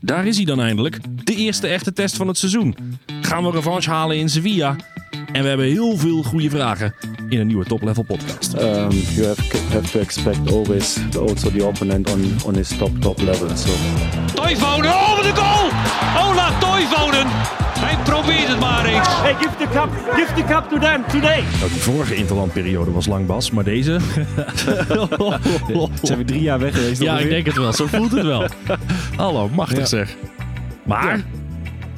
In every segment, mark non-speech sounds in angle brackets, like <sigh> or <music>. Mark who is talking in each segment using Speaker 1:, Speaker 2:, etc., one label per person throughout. Speaker 1: Daar is hij dan eindelijk. De eerste echte test van het seizoen. Gaan we revanche halen in Sevilla? En we hebben heel veel goede vragen in een nieuwe Top Level podcast.
Speaker 2: Um, you have, have to expect always also the opponent on, on his top, top level. So
Speaker 3: Toivonen, oh wat een goal! Ola Toivonen! Hij probeert het maar eens.
Speaker 4: Hey, give the cup, give the cup to them today.
Speaker 1: Ook de vorige interlandperiode was lang Bas, maar
Speaker 5: <laughs>
Speaker 1: deze...
Speaker 5: Zijn we drie jaar weg geweest?
Speaker 1: ja,
Speaker 5: ongeveer?
Speaker 1: ik denk het wel. Zo voelt het wel. Hallo, machtig zeg. Maar,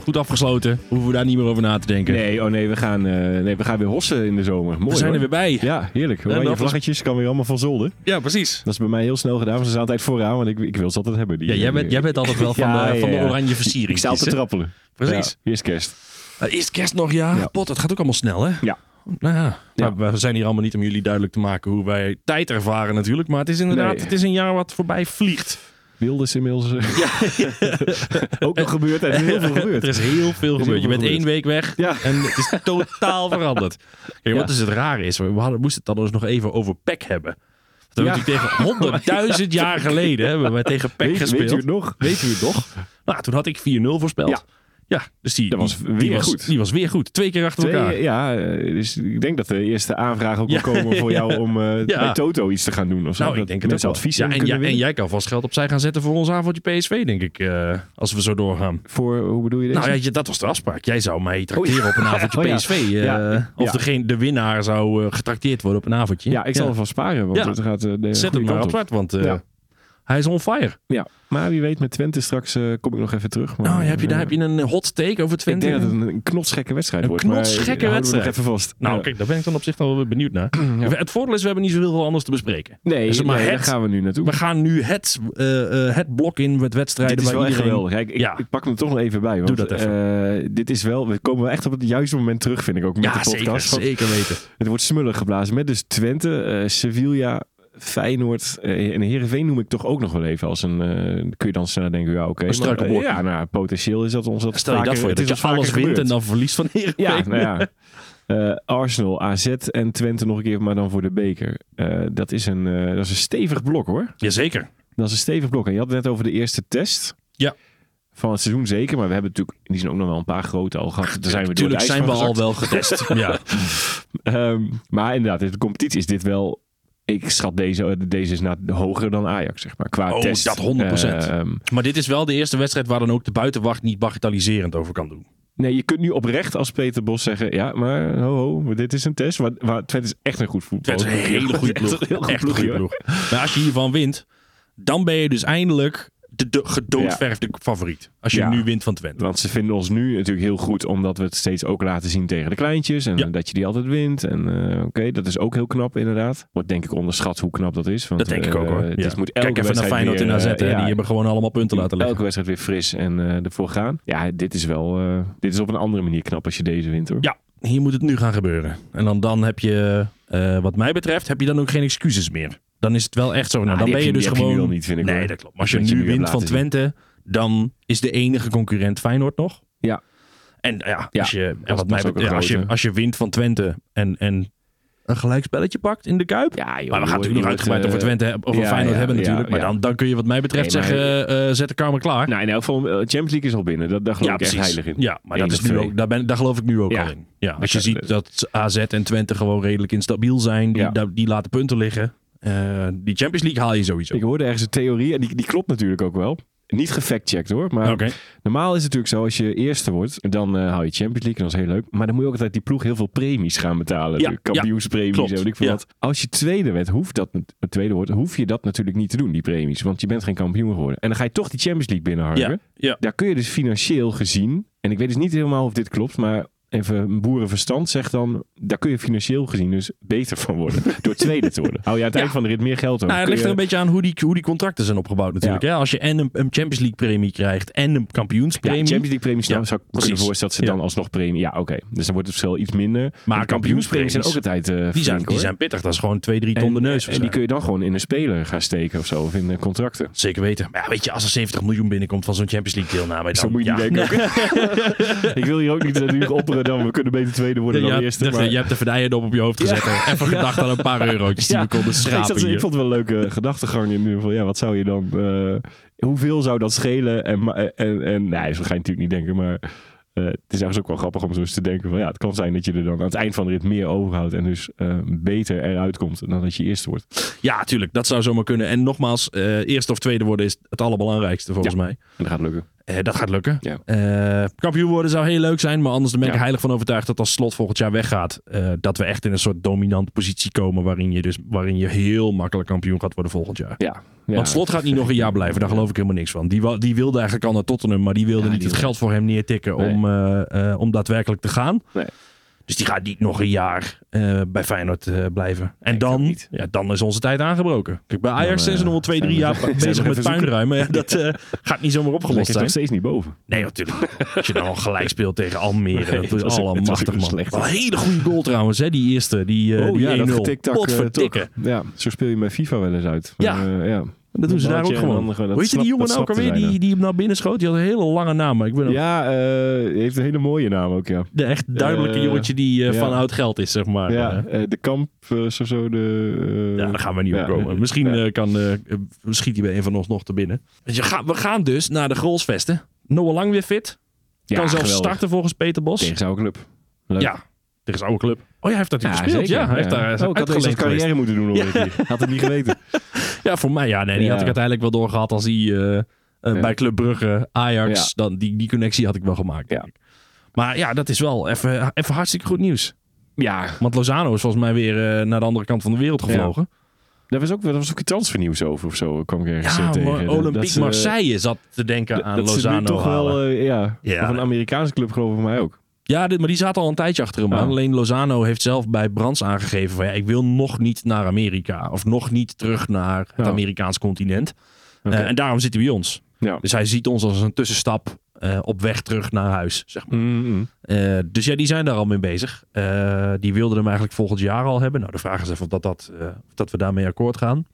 Speaker 1: goed afgesloten. Hoeven we daar niet meer over na te denken.
Speaker 5: Nee, oh nee we, gaan, eh, nee, we gaan weer hossen in de zomer. Mooi
Speaker 1: we zijn er
Speaker 5: hoor.
Speaker 1: weer bij.
Speaker 5: Ja, heerlijk.
Speaker 1: En
Speaker 5: Oranje
Speaker 1: dat was-
Speaker 5: vlaggetjes kan weer allemaal van zolder.
Speaker 1: Ja, precies.
Speaker 5: Dat is bij mij heel snel gedaan. want Ze staan altijd vooraan, want ik, ik wil ze altijd hebben. Die,
Speaker 1: Ja, jij bent, jij bent altijd wel van,
Speaker 5: Ja,
Speaker 1: de, van
Speaker 5: ja,
Speaker 1: de
Speaker 5: ja.
Speaker 1: oranje versiering.
Speaker 5: Ik sta al te trappelen.
Speaker 1: Precies.
Speaker 5: Ja, eerst kerst.
Speaker 1: Eh, Is kerst nog, ja.
Speaker 5: Ja.
Speaker 1: Pot, het gaat ook allemaal snel, hè?
Speaker 5: Ja.
Speaker 1: Nou ja,
Speaker 5: Ja.
Speaker 1: Maar we zijn hier allemaal niet om jullie duidelijk te maken hoe wij tijd ervaren natuurlijk. Maar het is inderdaad,
Speaker 5: Nee.
Speaker 1: het is een jaar wat voorbij vliegt.
Speaker 5: Wilders inmiddels. eh, <laughs> Ook nog gebeurd. Er is heel veel gebeurd.
Speaker 1: <laughs> Er is heel veel gebeurd. Je bent
Speaker 5: gebeurd.
Speaker 1: één week weg
Speaker 5: Ja.
Speaker 1: en het is totaal
Speaker 5: <laughs>
Speaker 1: veranderd. Kijk,
Speaker 5: Ja.
Speaker 1: wat dus het rare is, we hadden, moesten het dan dus nog even over PEC hebben. Dat
Speaker 5: Ja.
Speaker 1: we natuurlijk tegen
Speaker 5: <laughs>
Speaker 1: honderdduizend jaar geleden hebben wij tegen PEC
Speaker 5: Weet,
Speaker 1: gespeeld.
Speaker 5: weet u het nog? Weet u het nog?
Speaker 1: Nou, toen had ik 4-0 voorspeld.
Speaker 5: Ja.
Speaker 1: Ja, dus die,
Speaker 5: Dat was
Speaker 1: die- die
Speaker 5: weer
Speaker 1: was,
Speaker 5: goed.
Speaker 1: Die was weer goed. Twee keer achter elkaar.
Speaker 5: Twee, ja, eh, dus ik denk dat de eerste aanvraag ook
Speaker 1: Ja,
Speaker 5: wil komen voor
Speaker 1: <laughs>
Speaker 5: jou om eh,
Speaker 1: Ja.
Speaker 5: bij Toto iets te gaan doen. Of zo.
Speaker 1: Nou, ik
Speaker 5: Dat
Speaker 1: denk het ook
Speaker 5: mensen
Speaker 1: wel.
Speaker 5: advies
Speaker 1: ja, en,
Speaker 5: kunnen
Speaker 1: ja, en
Speaker 5: winnen.
Speaker 1: jij kan vast geld opzij gaan zetten voor ons avondje PSV, denk ik. eh, als we zo doorgaan.
Speaker 5: Voor, hoe bedoel je dit?
Speaker 1: Nou ja, je- dat was de afspraak. Jij zou mij trakteren op
Speaker 5: <laughs>
Speaker 1: een avondje
Speaker 5: Oh ja.
Speaker 1: PSV. eh,
Speaker 5: Ja, ik-
Speaker 1: Of
Speaker 5: ja.
Speaker 1: degene, de winnaar zou eh, getrakteerd worden op een avondje.
Speaker 5: Ja, ik zal ervan sparen, want
Speaker 1: Ja.
Speaker 5: het gaat eh, de
Speaker 1: Zet
Speaker 5: goede
Speaker 1: hem maar
Speaker 5: kant
Speaker 1: op
Speaker 5: op.
Speaker 1: zwart, want eh,
Speaker 5: Ja.
Speaker 1: hij is on fire.
Speaker 5: Ja, maar wie weet met Twente straks eh, kom ik nog even terug. Maar,
Speaker 1: Nou, heb je, daar
Speaker 5: eh,
Speaker 1: heb je een hot take over
Speaker 5: Ik
Speaker 1: Twente.
Speaker 5: denk dat het een, een knotsgekke wedstrijd
Speaker 1: Een
Speaker 5: wordt. maar eh,
Speaker 1: knotsgekke
Speaker 5: houden we
Speaker 1: wedstrijd.
Speaker 5: nog even vast.
Speaker 1: Nou,
Speaker 5: Ja.
Speaker 1: kijk, daar ben ik dan op zich wel weer benieuwd
Speaker 5: <clears throat>
Speaker 1: naar. Het voordeel is, we hebben niet zoveel anders te bespreken.
Speaker 5: Nee,
Speaker 1: Dus maar
Speaker 5: nee, daar
Speaker 1: het-
Speaker 5: gaan we nu naartoe.
Speaker 1: We gaan nu het, eh, eh, het blok in met wedstrijden
Speaker 5: dit is
Speaker 1: waar
Speaker 5: wel echt
Speaker 1: iedereen...
Speaker 5: geweldig. Kijk, ik,
Speaker 1: Ja.
Speaker 5: ik pak hem er toch nog even bij. Want,
Speaker 1: Doe dat even.
Speaker 5: eh, dit is wel, we komen wel echt op het juiste moment terug, vind ik ook. Met
Speaker 1: Ja,
Speaker 5: de podcast.
Speaker 1: zeker,
Speaker 5: Want
Speaker 1: zeker weten.
Speaker 5: Het wordt smullig geblazen met dus Twente, eh, Sevilla, Feyenoord eh, en Heerenveen noem ik toch ook nog wel even als een... eh, kun je dan sneller denken, ja oké. maar, eh,
Speaker 1: struikelblok.
Speaker 5: Ja, nou, potentieel is dat ons dat
Speaker 1: Stel je
Speaker 5: vaker-
Speaker 1: dat voor je,
Speaker 5: het is
Speaker 1: dat je
Speaker 5: ons vaker
Speaker 1: alles wint
Speaker 5: gebeurd.
Speaker 1: en dan verliest van Heerenveen.
Speaker 5: <laughs> Ja, nou ja. <laughs> Eh, Arsenal, AZ en Twente nog een keer, maar dan voor de beker. Eh, dat, is een, eh, dat is een stevig blok hoor.
Speaker 1: Jazeker.
Speaker 5: Dat is een stevig blok. En je had het net over de eerste test.
Speaker 1: Ja.
Speaker 5: Van het seizoen zeker, maar we hebben natuurlijk in die zijn ook nog wel een paar grote al gehad. Daar zijn we door
Speaker 1: Natuurlijk
Speaker 5: het ijs
Speaker 1: zijn we
Speaker 5: van
Speaker 1: al wel getest.
Speaker 5: <laughs>
Speaker 1: ja.
Speaker 5: gezakt. Ehm, maar inderdaad, in de competitie is dit wel... Ik schat deze, eh, deze is na, hoger dan Ajax, zeg maar, qua
Speaker 1: Oh,
Speaker 5: test.
Speaker 1: dat 100%.
Speaker 5: Ehm,
Speaker 1: Maar dit is wel de eerste wedstrijd waar dan ook de buitenwacht niet bagatelliserend over kan doen.
Speaker 5: nee, je kunt nu oprecht als Peter Bos zeggen... Ja, maar ho, ho, maar dit is een test. Maar, maar Twente is echt een goed voetbal.
Speaker 1: Het is een hele <laughs>
Speaker 5: <laughs>
Speaker 1: goede ploeg.
Speaker 5: Echt een heel goed
Speaker 1: Echt een goede
Speaker 5: ploegje, hoor.
Speaker 1: ploeg. Maar als je hiervan wint, dan ben je dus eindelijk de, de gedoodverfde favoriet. Als je
Speaker 5: Ja.
Speaker 1: nu wint van Twente.
Speaker 5: Want ze vinden ons nu natuurlijk heel goed, omdat we het steeds ook laten zien tegen de kleintjes. En
Speaker 1: Ja.
Speaker 5: dat je die altijd wint. En eh, oké, dat is ook heel knap inderdaad. Wordt denk ik onderschat hoe knap dat is. Want,
Speaker 1: Dat denk ik
Speaker 5: eh,
Speaker 1: ook hoor.
Speaker 5: dit
Speaker 1: Ja.
Speaker 5: moet elke
Speaker 1: Kijk even naar
Speaker 5: wedstrijd
Speaker 1: Feyenoord
Speaker 5: weer,
Speaker 1: in AZ.
Speaker 5: eh,
Speaker 1: hè.
Speaker 5: ja,
Speaker 1: Die hebben gewoon allemaal punten laten liggen.
Speaker 5: Elke wedstrijd weer fris en eh, ervoor gaan. Ja, dit is wel. eh, dit is op een andere manier knap als je deze wint hoor.
Speaker 1: Ja, hier moet het nu gaan gebeuren. En dan, dan heb je, eh, wat mij betreft, heb je dan ook geen excuses meer. Dan is het wel echt zo. Nou,
Speaker 5: Ah,
Speaker 1: dan
Speaker 5: die
Speaker 1: ben je
Speaker 5: heb
Speaker 1: dus
Speaker 5: die heb
Speaker 1: gewoon...
Speaker 5: nu al niet, vind ik.
Speaker 1: nee,
Speaker 5: hoor.
Speaker 1: dat klopt. Maar als je
Speaker 5: Dat je
Speaker 1: nu
Speaker 5: nu hebt
Speaker 1: wint van
Speaker 5: laten zien.
Speaker 1: Twente, dan is de enige concurrent Feyenoord nog.
Speaker 5: Ja.
Speaker 1: En nou ja,
Speaker 5: Ja,
Speaker 1: als je, en
Speaker 5: dat
Speaker 1: wat
Speaker 5: is
Speaker 1: mij
Speaker 5: ook een
Speaker 1: betreft, als, je,
Speaker 5: grote.
Speaker 1: als je wint van Twente en, en een gelijkspelletje pakt in de Kuip.
Speaker 5: Ja, joh,
Speaker 1: maar we gaan
Speaker 5: joh,
Speaker 1: natuurlijk nog
Speaker 5: joh,
Speaker 1: uitgebreid
Speaker 5: eh,
Speaker 1: over Twente, hebben- over
Speaker 5: ja,
Speaker 1: Feyenoord
Speaker 5: ja,
Speaker 1: hebben
Speaker 5: ja,
Speaker 1: natuurlijk. maar
Speaker 5: ja.
Speaker 1: dan, dan kun je wat mij betreft
Speaker 5: Nee, maar-
Speaker 1: zeggen, eh, zet de kamer klaar.
Speaker 5: Nou, in elk geval, eh, Champions League is al binnen. Dat, daar geloof
Speaker 1: ja,
Speaker 5: ik echt
Speaker 1: precies.
Speaker 5: heilig in.
Speaker 1: Ja, maar
Speaker 5: Eén
Speaker 1: dat is
Speaker 5: of
Speaker 1: nu
Speaker 5: twee.
Speaker 1: ook, daar, ben, daar geloof ik nu ook
Speaker 5: Ja.
Speaker 1: al in. Ja, als je
Speaker 5: Ja,
Speaker 1: ziet
Speaker 5: eh,
Speaker 1: dat AZ en Twente gewoon redelijk instabiel zijn, die,
Speaker 5: Ja.
Speaker 1: daar- die laten punten liggen. Eh, die Champions League haal je sowieso.
Speaker 5: Ik hoorde ergens een theorie en die, die klopt natuurlijk ook wel. Niet gefactcheckt hoor, maar
Speaker 1: Oké.
Speaker 5: Normaal is het natuurlijk zo, als je eerste wordt, dan eh, hou je Champions League en dat is heel leuk. Maar dan moet je ook altijd die ploeg heel veel premies gaan betalen.
Speaker 1: Ja,
Speaker 5: De kampioenspremies
Speaker 1: ja, klopt.
Speaker 5: en weet ik veel
Speaker 1: Ja.
Speaker 5: wat. Als je tweede, werd, hoeft dat, tweede wordt, hoef je dat natuurlijk niet te doen, die premies. Want je bent geen kampioen geworden. En dan ga je toch die Champions League binnenharken.
Speaker 1: Ja, ja.
Speaker 5: Daar kun je dus financieel gezien, en ik weet dus niet helemaal of dit klopt, maar even een boerenverstand zegt dan, daar kun je financieel gezien dus beter van worden. door tweede te worden. Hou je aan het eind van de rit meer geld over.
Speaker 1: Nou, het
Speaker 5: kun
Speaker 1: ligt er
Speaker 5: je-
Speaker 1: een beetje aan hoe die, hoe die contracten zijn opgebouwd natuurlijk.
Speaker 5: eh, Ja.
Speaker 1: Hè? Als je en een, een Champions League premie krijgt en een
Speaker 5: Ja,
Speaker 1: kampioenspremie.
Speaker 5: Champions League premies
Speaker 1: Ja,
Speaker 5: nou, zou ik me kunnen
Speaker 1: precies.
Speaker 5: voorstellen dat ze
Speaker 1: Ja.
Speaker 5: dan alsnog premie... Ja, oké. Dus dan wordt het verschil iets minder. Maar
Speaker 1: kampioenspremies
Speaker 5: zijn ook altijd eh
Speaker 1: die, zijn,
Speaker 5: flink,
Speaker 1: die
Speaker 5: hoor.
Speaker 1: zijn pittig. Dat is gewoon twee, drie
Speaker 5: En-
Speaker 1: ton de neus.
Speaker 5: En die kun je dan gewoon in een speler gaan steken of zo. Of in eh, contracten.
Speaker 1: Zeker weten. Maar ja, weet je, als er 70 miljoen binnenkomt van zo'n Champions League deelname. Dan,
Speaker 5: Zo moet je
Speaker 1: ja.
Speaker 5: niet denken.
Speaker 1: <laughs>
Speaker 5: ook. <laughs> ik wil hier ook niet eh, nu opperen dan we kunnen beter tweede worden
Speaker 1: Ja,
Speaker 5: dan
Speaker 1: <laughs> je,
Speaker 5: eerste.
Speaker 1: hebt-
Speaker 5: maar-
Speaker 1: je hebt de verdijendop op je hoofd gezet. en Even gedacht aan
Speaker 5: <laughs>
Speaker 1: een paar eurotjes die we konden
Speaker 5: ik, zat-
Speaker 1: schrapen
Speaker 5: ik
Speaker 1: hier. <laughs>
Speaker 5: vond het wel een leuke gedachtegang in ieder geval. Ja, wat zou je dan eh, hoeveel zou dat schelen? En, ma- en, en, nee, zo ga je natuurlijk niet denken, maar eh, het is ergens ook wel grappig om zo eens te denken van ja, het kan zijn dat je er dan aan het eind van de rit meer overhoudt en dus eh, beter eruit komt dan dat je eerst wordt.
Speaker 1: Ja, tuurlijk. Dat zou zomaar kunnen. En nogmaals, eh, eerste of tweede worden is het allerbelangrijkste volgens mij.
Speaker 5: En dat gaat lukken.
Speaker 1: Eh, dat gaat lukken.
Speaker 5: Ja.
Speaker 1: Eh, kampioen worden zou heel leuk zijn. Maar anders ben ik
Speaker 5: Ja.
Speaker 1: er heilig van overtuigd dat als slot volgend jaar weggaat. eh, dat we echt in een soort dominante positie komen. Waarin je, dus, waarin je heel makkelijk kampioen gaat worden volgend jaar.
Speaker 5: Ja.
Speaker 1: Want slot gaat niet nog een jaar blijven. Daar geloof ik helemaal niks van. Die, wa- die wilde eigenlijk al naar Tottenham. Maar die wilde
Speaker 5: Ja,
Speaker 1: niet
Speaker 5: die
Speaker 1: het
Speaker 5: wil-
Speaker 1: geld voor hem neertikken.
Speaker 5: Nee.
Speaker 1: Om, eh, eh, om daadwerkelijk te gaan.
Speaker 5: Nee.
Speaker 1: Dus die gaat niet nog een jaar eh, bij Feyenoord eh, blijven. En
Speaker 5: ik ook
Speaker 1: dan,
Speaker 5: niet.
Speaker 1: ja, dan is onze tijd aangebroken. Kijk, bij Ajax
Speaker 5: eh,
Speaker 1: zijn ze nog wel twee,
Speaker 5: zijn
Speaker 1: drie
Speaker 5: we-
Speaker 1: jaar
Speaker 5: zijn we nog
Speaker 1: bezig met
Speaker 5: even zoeken.
Speaker 1: puinruimen. Ja, dat eh, gaat niet zomaar
Speaker 5: Lekker
Speaker 1: opgelost
Speaker 5: is nog
Speaker 1: zijn. Oh,
Speaker 5: steeds niet boven.
Speaker 1: Nee, natuurlijk. niet. Als je dan al gelijk speelt tegen Almere.
Speaker 5: Nee,
Speaker 1: dat
Speaker 5: het
Speaker 1: is
Speaker 5: was ook- het was ook
Speaker 1: allemachtig,
Speaker 5: een
Speaker 1: man.
Speaker 5: slechte. Oh,
Speaker 1: Wel een hele goede goal trouwens, hè. Die eerste, die, eh die 1-0.
Speaker 5: getiktak, eh,
Speaker 1: Potverdikke.
Speaker 5: toch. Ja, zo speel je bij FIFA wel eens uit.
Speaker 1: Ja.
Speaker 5: Eh, ja.
Speaker 1: Dat doen ze daar ook
Speaker 5: balletje en
Speaker 1: gewoon.
Speaker 5: dan dat
Speaker 1: Hoe heet je die
Speaker 5: slap-
Speaker 1: jongen nou
Speaker 5: dat
Speaker 1: ook
Speaker 5: slap te
Speaker 1: alweer
Speaker 5: zijn,
Speaker 1: die, die hem naar binnen schoot? Die had een hele lange naam. maar Ik ben
Speaker 5: ja. Ja, eh, die heeft een hele mooie naam ook, ja.
Speaker 1: de echt duidelijke
Speaker 5: Eh,
Speaker 1: jongetje die eh,
Speaker 5: ja.
Speaker 1: van oud geld is, zeg maar.
Speaker 5: Ja,
Speaker 1: Eh,
Speaker 5: eh, de kamp, eh, zo zo de... eh,
Speaker 1: Ja, daar gaan we niet
Speaker 5: ja.
Speaker 1: op komen. Misschien
Speaker 5: Ja.
Speaker 1: eh, kan, eh, eh, schiet hij bij een van ons nog te binnen. Dus je gaat, we gaan dus naar de Grolsvesten. Noah Lang weer fit.
Speaker 5: Ja,
Speaker 1: kan zelfs
Speaker 5: geweldig.
Speaker 1: starten volgens Peter Bos.
Speaker 5: Tegen zijn oude club. Leuk.
Speaker 1: Ja, tegen zijn oude club. Oh, ja, hij heeft dat
Speaker 5: Ja,
Speaker 1: gespeeld.
Speaker 5: zeker.
Speaker 1: Ja, hij heeft daar
Speaker 5: Oh, ik had deze
Speaker 1: uitgeleend
Speaker 5: carrière
Speaker 1: geweest.
Speaker 5: moeten doen, hoor ik hier. Had het niet geweten.
Speaker 1: Ja, voor mij. Ja, nee, die
Speaker 5: Ja.
Speaker 1: had ik uiteindelijk wel doorgehad als hij eh, eh, bij Club Brugge, Ajax,
Speaker 5: Ja.
Speaker 1: dan, die, die connectie had ik wel gemaakt. denk
Speaker 5: Ja.
Speaker 1: ik. Maar ja, dat is wel even, even hartstikke goed nieuws.
Speaker 5: <laughs> Ja,
Speaker 1: Want Lozano is volgens mij weer eh, naar de andere kant van de wereld gevlogen.
Speaker 5: daar was ook, daar was ook iets transfernieuws over of zo, kwam ik ergens
Speaker 1: Ja,
Speaker 5: eh, tegen.
Speaker 1: maar
Speaker 5: Dat- dat
Speaker 1: Olympique
Speaker 5: ze-
Speaker 1: Marseille zat te denken aan
Speaker 5: dat ze nu
Speaker 1: Lozano
Speaker 5: toch
Speaker 1: halen.
Speaker 5: wel, eh, ja,
Speaker 1: Ja.
Speaker 5: Of een Amerikaanse club geloof ik voor mij ook.
Speaker 1: Ja, dit, maar die zaten al een tijdje achter hem
Speaker 5: Ja.
Speaker 1: aan. Alleen Lozano heeft zelf bij Brands aangegeven van... Ja, ik wil nog niet naar Amerika. Of nog niet terug naar het
Speaker 5: Ja.
Speaker 1: Amerikaans continent.
Speaker 5: Oké.
Speaker 1: Eh, en daarom zit hij bij ons.
Speaker 5: Ja.
Speaker 1: Dus hij ziet ons als een tussenstap eh, op weg terug naar huis. Zeg maar.
Speaker 5: Mm, mm.
Speaker 1: Eh, dus ja, die zijn daar al mee bezig. Eh, die wilden hem eigenlijk volgend jaar al hebben. Nou, de vraag is even of, dat, dat, eh, of dat we daarmee akkoord gaan.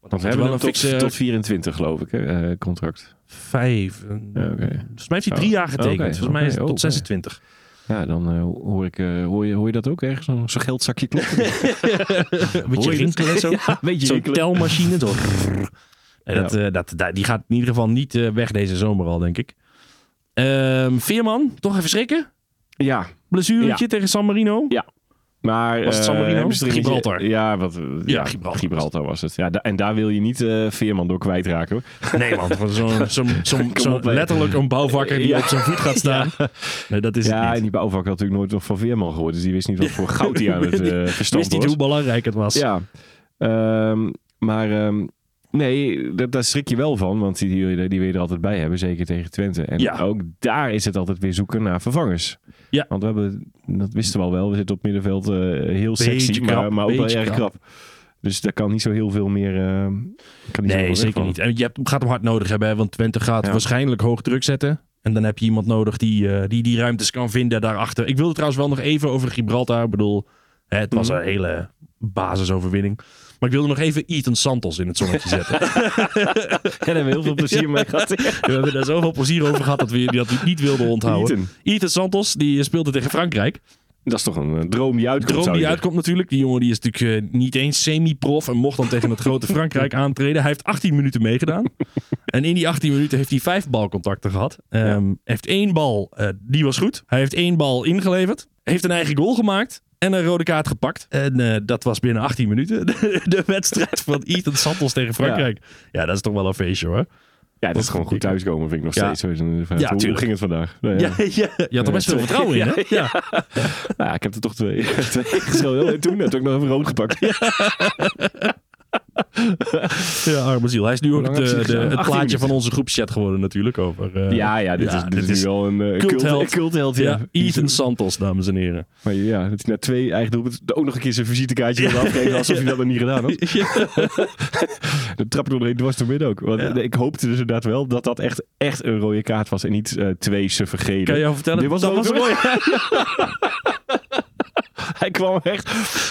Speaker 5: Want we
Speaker 1: is
Speaker 5: hebben
Speaker 1: wel
Speaker 5: hem
Speaker 1: een
Speaker 5: tot,
Speaker 1: fikse-
Speaker 5: tot 24 geloof ik, hè, eh, contract.
Speaker 1: Vijf. eh,
Speaker 5: Ja, oké.
Speaker 1: Volgens mij heeft hij
Speaker 5: Oh.
Speaker 1: drie jaar getekend.
Speaker 5: Oké,
Speaker 1: Volgens mij is het
Speaker 5: oké, oh,
Speaker 1: tot
Speaker 5: oké.
Speaker 1: 26.
Speaker 5: <laughs> Ja, dan eh, hoor, ik, eh, hoor, je, hoor je dat ook ergens? Zo'n zo'n geldzakje kloppen.
Speaker 1: Beetje
Speaker 5: Hoor je dit?
Speaker 1: rinkelen zo.
Speaker 5: <laughs> beetje
Speaker 1: Zo'n
Speaker 5: rinkelen.
Speaker 1: telmachine. Zo.
Speaker 5: <laughs>
Speaker 1: En dat, eh, dat, da- die gaat in ieder geval niet eh, weg deze zomer al, denk ik. Ehm, Veerman, toch even schrikken.
Speaker 5: <laughs> ja,
Speaker 1: Blessuretje tegen San Marino.
Speaker 5: Ja. maar...
Speaker 1: Was het
Speaker 5: eh,
Speaker 1: San Marino?
Speaker 5: hebben ze er eentje-
Speaker 1: Gibraltar.
Speaker 5: Ja, wat, eh, ja,
Speaker 1: Gibraltar.
Speaker 5: Gibraltar. was het. Ja, da- en daar wil je niet eh, Veerman door kwijtraken. hoor.
Speaker 1: Nee, want zo'n <laughs> zo'n- zo'n- zo'n
Speaker 5: op, hè.
Speaker 1: letterlijk een bouwvakker die
Speaker 5: <laughs> Ja.
Speaker 1: op zijn voet gaat staan. Nee, dat is
Speaker 5: Ja, en
Speaker 1: het niet.
Speaker 5: die bouwvak had natuurlijk nooit nog van Veerman gehoord. Dus die wist niet
Speaker 1: <laughs>
Speaker 5: wat voor goud hij aan het
Speaker 1: Die
Speaker 5: eh verstand
Speaker 1: Wist
Speaker 5: was.
Speaker 1: niet hoe belangrijk het was.
Speaker 5: Ja, Ehm, maar ehm, nee, daar, daar schrik je wel van, want die, die, die wil je er altijd bij hebben, zeker tegen Twente. En
Speaker 1: Ja.
Speaker 5: ook daar is het altijd weer zoeken naar vervangers.
Speaker 1: Ja.
Speaker 5: Want we hebben, dat wisten we al wel, we zitten op middenveld eh, heel
Speaker 1: Beetje
Speaker 5: sexy,
Speaker 1: krap,
Speaker 5: maar, maar ook wel
Speaker 1: beetje
Speaker 5: erg
Speaker 1: krap.
Speaker 5: krap. Dus daar kan niet zo heel veel meer... ehm, kan niet zo heel veel
Speaker 1: Nee,
Speaker 5: weg
Speaker 1: zeker
Speaker 5: van.
Speaker 1: niet. En je hebt, gaat hem hard nodig hebben, hè, want Twente gaat
Speaker 5: Ja.
Speaker 1: waarschijnlijk hoog druk zetten. En dan heb je iemand nodig die, eh, die die ruimtes kan vinden daarachter. Ik wilde trouwens wel nog even over Gibraltar. Ik bedoel, hè, het
Speaker 5: Mhm.
Speaker 1: was een hele basisoverwinning. Maar ik wilde nog even Ethan Santos in het zonnetje
Speaker 5: <laughs>
Speaker 1: zetten.
Speaker 5: En daar hebben we heel
Speaker 1: <laughs>
Speaker 5: veel plezier mee gehad.
Speaker 1: we hebben daar zoveel plezier over gehad dat we dat we niet wilden onthouden.
Speaker 5: Ethan.
Speaker 1: Ethan Santos, die speelde tegen Frankrijk.
Speaker 5: Dat is toch een eh, droom die uitkomt,
Speaker 1: Droom die
Speaker 5: zou je zeggen.
Speaker 1: uitkomt natuurlijk. Die jongen die is natuurlijk eh, niet eens semi-prof en mocht dan tegen het
Speaker 5: <laughs>
Speaker 1: grote Frankrijk aantreden. Hij heeft 18 minuten meegedaan. En in die 18 minuten heeft hij vijf balcontacten gehad. Ehm, Heeft één bal, eh, die was goed. Hij heeft één bal ingeleverd. Heeft een eigen goal gemaakt. En een rode kaart gepakt. En eh, dat was binnen 18 minuten. De, <laughs> de wedstrijd
Speaker 5: <laughs>
Speaker 1: van Ethan Santos tegen Frankrijk. Ja. dat is toch wel een feestje hoor.
Speaker 5: Ja, dat is gewoon goed thuiskomen, vind ik nog
Speaker 1: Ja.
Speaker 5: steeds. Zo is een- hoe- hoe
Speaker 1: tuurlijk.
Speaker 5: ging het vandaag? Nou
Speaker 1: Ja, ja, Je had er best veel vertrouwen in hè? Ja.
Speaker 5: Nou ja, ik heb er toch twee, <laughs> twee geschilderd. En toen heb ik nog even rood gepakt.
Speaker 1: Ja, arme ziel. Hij is nu ook
Speaker 5: lang
Speaker 1: de,
Speaker 5: heb je
Speaker 1: de-
Speaker 5: het gedaan?
Speaker 1: het
Speaker 5: 18
Speaker 1: plaatje van
Speaker 5: minuten.
Speaker 1: onze groepschat geworden natuurlijk. Over, eh,
Speaker 5: Ja, ja, dit, is, dit, is, nu wel een eh,
Speaker 1: cultheld.
Speaker 5: cult- cultheld,
Speaker 1: Ja,
Speaker 5: ja.
Speaker 1: Ethan Santos, dames en heren.
Speaker 5: Maar ja, dat hij na twee eigen doelpunten ook nog een keer zijn visitekaartje wil afgeven. Alsof hij dat nog niet gedaan
Speaker 1: <laughs>
Speaker 5: had. <laughs> De trap door doorheen dwars door midden ook. Want eh, ik hoopte dus inderdaad wel dat dat echt, echt een rode kaart was. En niet eh, twee suffe gele.
Speaker 1: Kan je jou vertellen?
Speaker 5: Dit was
Speaker 1: dat
Speaker 5: wel
Speaker 1: was
Speaker 5: een <laughs>
Speaker 1: mooi.
Speaker 5: Hij kwam echt...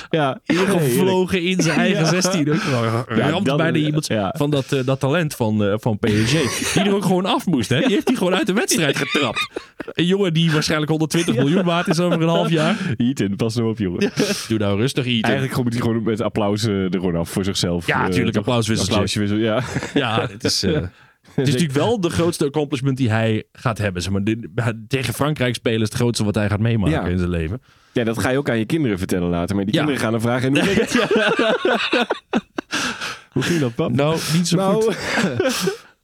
Speaker 5: Ja,
Speaker 1: Gevlogen in zijn eigen
Speaker 5: Ja.
Speaker 1: 16. Ook wel. Ramt
Speaker 5: dat-
Speaker 1: bijna iemand
Speaker 5: ja.
Speaker 1: van dat, eh, dat talent van, eh, van PSG. Die er ook gewoon af moest. Hè? Die heeft hij gewoon uit de
Speaker 5: <laughs>
Speaker 1: wedstrijd getrapt. Een jongen die waarschijnlijk 120 miljoen waard is over een half
Speaker 5: <laughs>
Speaker 1: jaar.
Speaker 5: Ethan, pas nou op jongen.
Speaker 1: Doe nou rustig, Ethan.
Speaker 5: Eigenlijk moet hij gewoon met applaus eh, er gewoon af voor zichzelf.
Speaker 1: Ja,
Speaker 5: Eh,
Speaker 1: tuurlijk,
Speaker 5: toch?
Speaker 1: applauswisseltje.
Speaker 5: Applausje wisselen, ja.
Speaker 1: Ja, het is... eh, Het is natuurlijk wel de grootste accomplishment die hij gaat hebben. Zeg maar. De- Tegen Frankrijk spelen is het grootste wat hij gaat meemaken
Speaker 5: Ja.
Speaker 1: in zijn leven.
Speaker 5: Ja, dat ga je ook aan je kinderen vertellen later. Maar die
Speaker 1: Ja.
Speaker 5: kinderen gaan dan
Speaker 1: <laughs>
Speaker 5: vragen. En hoe, hoe ging dat, pap?
Speaker 1: Nou, niet zo goed.
Speaker 5: Nou,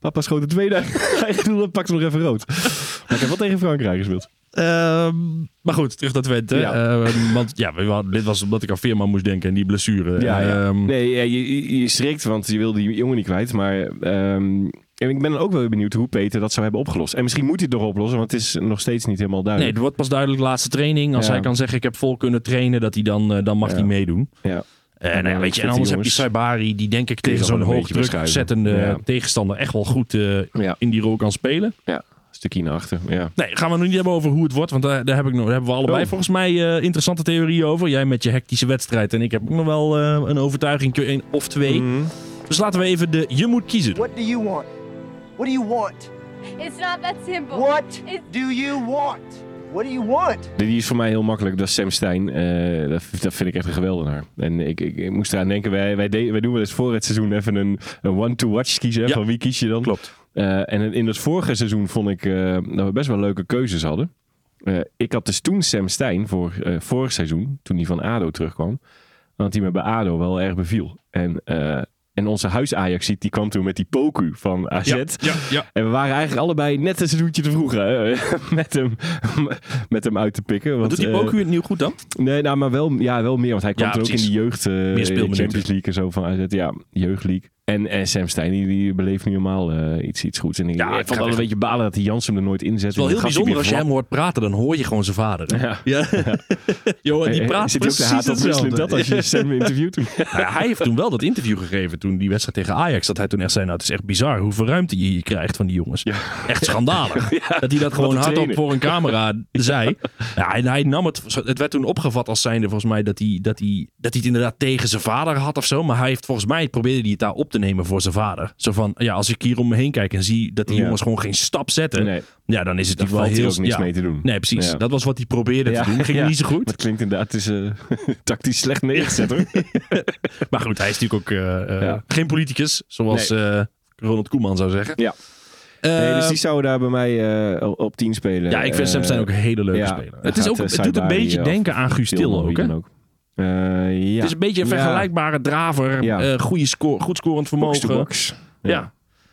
Speaker 5: <laughs> papa schoot de tweede <laughs> eigen doel en pakte nog even rood. Maar ik heb wel tegen Frankrijk gespeeld.
Speaker 1: Ehm, maar goed, terug naar Twente.
Speaker 5: Ja.
Speaker 1: Ehm, want ja, we hadden- dit was omdat ik aan Veerman moest denken en die blessure. Ehm,
Speaker 5: Nee, ja, je, je- je schrikt, want je wil die jongen niet kwijt. Maar ehm, en ik ben dan ook wel weer benieuwd hoe Peter dat zou hebben opgelost. En misschien moet hij het nog oplossen, want het is nog steeds niet helemaal
Speaker 1: nee,
Speaker 5: duidelijk.
Speaker 1: het wordt pas duidelijk de laatste training. Als
Speaker 5: Ja.
Speaker 1: hij kan zeggen, ik heb vol kunnen trainen, dat hij dan, eh, dan mag
Speaker 5: Ja.
Speaker 1: hij meedoen.
Speaker 5: ja.
Speaker 1: En,
Speaker 5: Ja,
Speaker 1: eh, weet je, en
Speaker 5: fitte
Speaker 1: anders heb je
Speaker 5: jongens.
Speaker 1: Saibari, die denk ik tegen
Speaker 5: zal
Speaker 1: zo'n
Speaker 5: wel een
Speaker 1: hoog
Speaker 5: beetje
Speaker 1: druk
Speaker 5: verschuiven.
Speaker 1: zettende
Speaker 5: Ja.
Speaker 1: tegenstander echt wel goed eh,
Speaker 5: Ja.
Speaker 1: in die rol kan spelen.
Speaker 5: ja, stukje naar achter. Ja.
Speaker 1: Nee, gaan we nog niet hebben over hoe het wordt, want eh, daar, daar, heb ik nog, daar hebben we allebei
Speaker 5: Oh.
Speaker 1: volgens mij eh, interessante theorieën over. Jij met je hectische wedstrijd en ik heb ook nog wel eh, een overtuiging een of twee.
Speaker 5: Mhm.
Speaker 1: Dus laten we even de je moet kiezen. doen.
Speaker 6: What do you want? What do you want?
Speaker 7: It's not that simple.
Speaker 6: What
Speaker 7: It's
Speaker 6: do you want? What do you want?
Speaker 5: Die is voor mij heel makkelijk, dat is Sam Stein. Eh, dat, dat vind ik echt een geweldenaar. En ik, ik, ik moest eraan denken, wij, wij, deden- wij doen wel eens voor het seizoen even een, een one-to-watch kiezen. hè,
Speaker 1: Ja.
Speaker 5: Van wie kies je dan? Klopt. en in het vorige seizoen vond ik eh, dat we best wel leuke keuzes hadden. Eh, ik had dus toen Sam Stein voor eh, vorig seizoen, toen hij van ADO terugkwam. Want die me bij ADO wel erg beviel. En, eh, en onze huis Ajax die kwam toen met die Poku van AZ.
Speaker 1: Ja, ja, ja.
Speaker 5: En we waren eigenlijk allebei net een seizoentje te vroeg hè, <laughs> met, hem, met hem uit te pikken. Want,
Speaker 1: Doet die
Speaker 5: eh,
Speaker 1: ook weer nieuw goed dan?
Speaker 5: Nee, nou, maar wel, ja, wel meer. Want hij kwam
Speaker 1: Ja,
Speaker 5: toen ook in
Speaker 1: precies.
Speaker 5: de jeugd eh,
Speaker 1: speelminuten.
Speaker 5: Champions League en zo van AZ. Ja, jeugdleague. En, en Sam Stein, die, die beleeft nu helemaal eh, iets, iets goeds. En ik,
Speaker 1: Ja,
Speaker 5: ja,
Speaker 1: ik
Speaker 5: ik vond
Speaker 1: ga
Speaker 5: wel een
Speaker 1: weg.
Speaker 5: beetje balen dat die Jansen er nooit in zet.
Speaker 1: Het is wel heel bijzonder als je hem hoort praten, dan hoor je gewoon zijn vader. hè?
Speaker 5: Ja.
Speaker 1: <laughs> Ja. Johan, die praat
Speaker 5: Eh, Zit je ook te
Speaker 1: precies
Speaker 5: haat op
Speaker 1: hetzelfde.
Speaker 5: Muslim dat
Speaker 1: <laughs>
Speaker 5: als je Sam interviewt?
Speaker 1: Nou ja, hij heeft toen wel dat interview gegeven toen die wedstrijd tegen Ajax. Dat hij toen echt zei, nou het is echt bizar hoeveel ruimte je hier krijgt van die jongens. Echt
Speaker 5: <laughs>
Speaker 1: schandalig. dat hij dat gewoon
Speaker 5: een
Speaker 1: hardop
Speaker 5: trainer.
Speaker 1: voor een
Speaker 5: <laughs>
Speaker 1: camera zei. Ja, en hij nam het, het werd toen opgevat als zijnde volgens mij dat hij, dat, hij, dat hij het inderdaad tegen zijn vader had of zo. Maar hij heeft volgens mij, probeerde hij het daar op te nemen voor zijn vader. Zo van, ja als ik hier om me heen kijk en zie dat die
Speaker 5: Ja.
Speaker 1: jongens gewoon geen stap zetten.
Speaker 5: Nee.
Speaker 1: Ja, dan is het
Speaker 5: Dan
Speaker 1: natuurlijk wel
Speaker 5: valt
Speaker 1: heel...
Speaker 5: hier ook niks
Speaker 1: ja.
Speaker 5: mee te doen.
Speaker 1: Nee, precies.
Speaker 5: Ja.
Speaker 1: Dat was wat hij probeerde te doen. Ging
Speaker 5: ja.
Speaker 1: niet zo goed.
Speaker 5: Dat klinkt inderdaad, het is eh, <laughs> tactisch slecht
Speaker 1: <laughs>
Speaker 5: neergezet hoor.
Speaker 1: Eh, Maar goed, hij is natuurlijk ook eh, eh,
Speaker 5: Ja.
Speaker 1: geen politicus, zoals eh, Ronald Koeman zou zeggen.
Speaker 5: Ja. Nee, dus die zou daar bij mij eh, op 10 spelen.
Speaker 1: ja, ik vind Sam
Speaker 5: Eh,
Speaker 1: Stein ook een hele leuke
Speaker 5: ja,
Speaker 1: speler.
Speaker 5: dan
Speaker 1: Het, is
Speaker 5: gaat,
Speaker 1: ook,
Speaker 5: eh,
Speaker 1: het doet een
Speaker 5: Saibari,
Speaker 1: beetje
Speaker 5: eh,
Speaker 1: denken aan Guus Til
Speaker 5: Tilman,
Speaker 1: ook,
Speaker 5: wie
Speaker 1: hè?
Speaker 5: dan Eh, ja.
Speaker 1: Het is een beetje een
Speaker 5: Ja.
Speaker 1: vergelijkbare draver,
Speaker 5: Ja.
Speaker 1: eh, goede score, goed scorend vermogen.
Speaker 5: Box-to-box.
Speaker 1: Ja.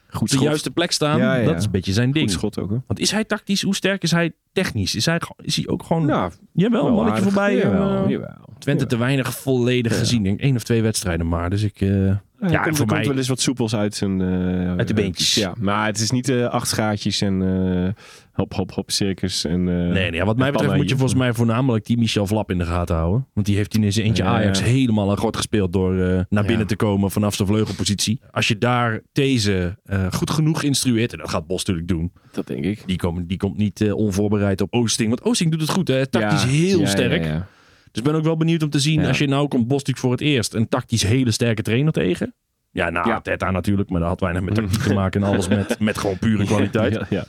Speaker 5: Goed
Speaker 1: Op de
Speaker 5: schot.
Speaker 1: juiste plek staan,
Speaker 5: Ja, ja.
Speaker 1: dat is een beetje zijn
Speaker 5: Goed
Speaker 1: ding.
Speaker 5: schot ook, hè?
Speaker 1: Want is hij tactisch? Hoe sterk is hij technisch? Is hij, gewoon- is hij ook gewoon...
Speaker 5: Nou,
Speaker 1: jawel, een mannetje
Speaker 5: aardig.
Speaker 1: voorbij.
Speaker 5: Jawel,
Speaker 1: eh,
Speaker 5: jawel.
Speaker 1: Twente te weinig volledig gezien. Ik denk één of twee wedstrijden maar. Dus ik... eh,
Speaker 5: Ja,
Speaker 1: ja,
Speaker 5: er
Speaker 1: en
Speaker 5: komt,
Speaker 1: voor
Speaker 5: er komt
Speaker 1: mij...
Speaker 5: wel eens wat soepels uit zijn... eh,
Speaker 1: Uit de beentjes.
Speaker 5: Ja, maar het is niet eh, acht gaatjes en eh, hop, hop, hop, circus en... eh,
Speaker 1: Nee, nee, wat mij
Speaker 5: en
Speaker 1: betreft
Speaker 5: pannen
Speaker 1: moet je
Speaker 5: hier.
Speaker 1: volgens mij voornamelijk die Michel Vlap in de gaten houden. Want die heeft in zijn eentje
Speaker 5: Ja.
Speaker 1: Ajax helemaal aan gort gespeeld door eh, naar binnen te komen vanaf zijn vleugelpositie. Als je daar deze eh, goed genoeg instrueert, en dat gaat Bos natuurlijk doen.
Speaker 5: Dat denk ik.
Speaker 1: Die, komen, die komt niet eh, onvoorbereid op Oosting. Want Oosting doet het goed, hè? Tactisch
Speaker 5: Ja,
Speaker 1: heel
Speaker 5: ja, ja,
Speaker 1: sterk.
Speaker 5: ja.
Speaker 1: Dus ik ben ook wel benieuwd om te zien,
Speaker 5: Ja.
Speaker 1: als je nou komt Bos natuurlijk voor het eerst een tactisch hele sterke trainer tegen. Ja, nou,
Speaker 5: Ja. Mm.
Speaker 1: Teta natuurlijk, maar dat had weinig met tactiek te maken en alles
Speaker 5: <laughs>
Speaker 1: met, met gewoon pure kwaliteit.
Speaker 5: Ja, ja.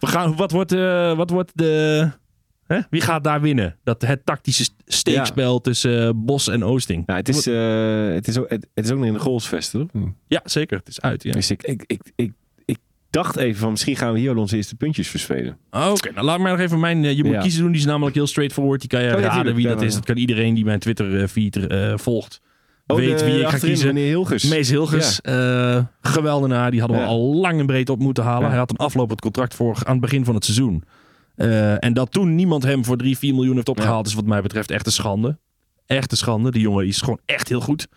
Speaker 1: We gaan, wat, wordt, eh, wat wordt de. Hè? Wie gaat daar winnen? Dat het tactische st- steekspel tussen eh, Bos en Oosting.
Speaker 5: Nou, het, is, eh, het, is ook, het, het is ook nog in de goalsvest, hoor.
Speaker 1: Ja, zeker. Het is uit. Ja.
Speaker 5: Dus ik, ik, ik, ik, ik dacht even van misschien gaan we hier al onze eerste puntjes verspelen.
Speaker 1: Oké, nou laat maar nog even mijn. eh, je moet
Speaker 5: Ja. Oh,
Speaker 1: kiezen doen. Die is namelijk heel straightforward. Die kan je
Speaker 5: ja,
Speaker 1: raden
Speaker 5: tuurlijk.
Speaker 1: wie
Speaker 5: Ja,
Speaker 1: dat is.
Speaker 5: ja.
Speaker 1: Dat kan iedereen die mijn Twitter-feed eh, volgt. weet
Speaker 5: Oh, de-
Speaker 1: wie ik ga
Speaker 5: achterin,
Speaker 1: kiezen.
Speaker 5: Meneer Hilgers.
Speaker 1: Mees Hilgers, eh, geweldenaar. Die hadden we
Speaker 5: Ja.
Speaker 1: al lang en breed op moeten halen.
Speaker 5: Ja.
Speaker 1: Hij had een aflopend contract voor aan het begin van het seizoen. Eh, en dat toen niemand hem voor 3, 4 miljoen heeft opgehaald, is wat mij betreft echt een schande. Echt een schande. Die jongen is gewoon echt heel goed.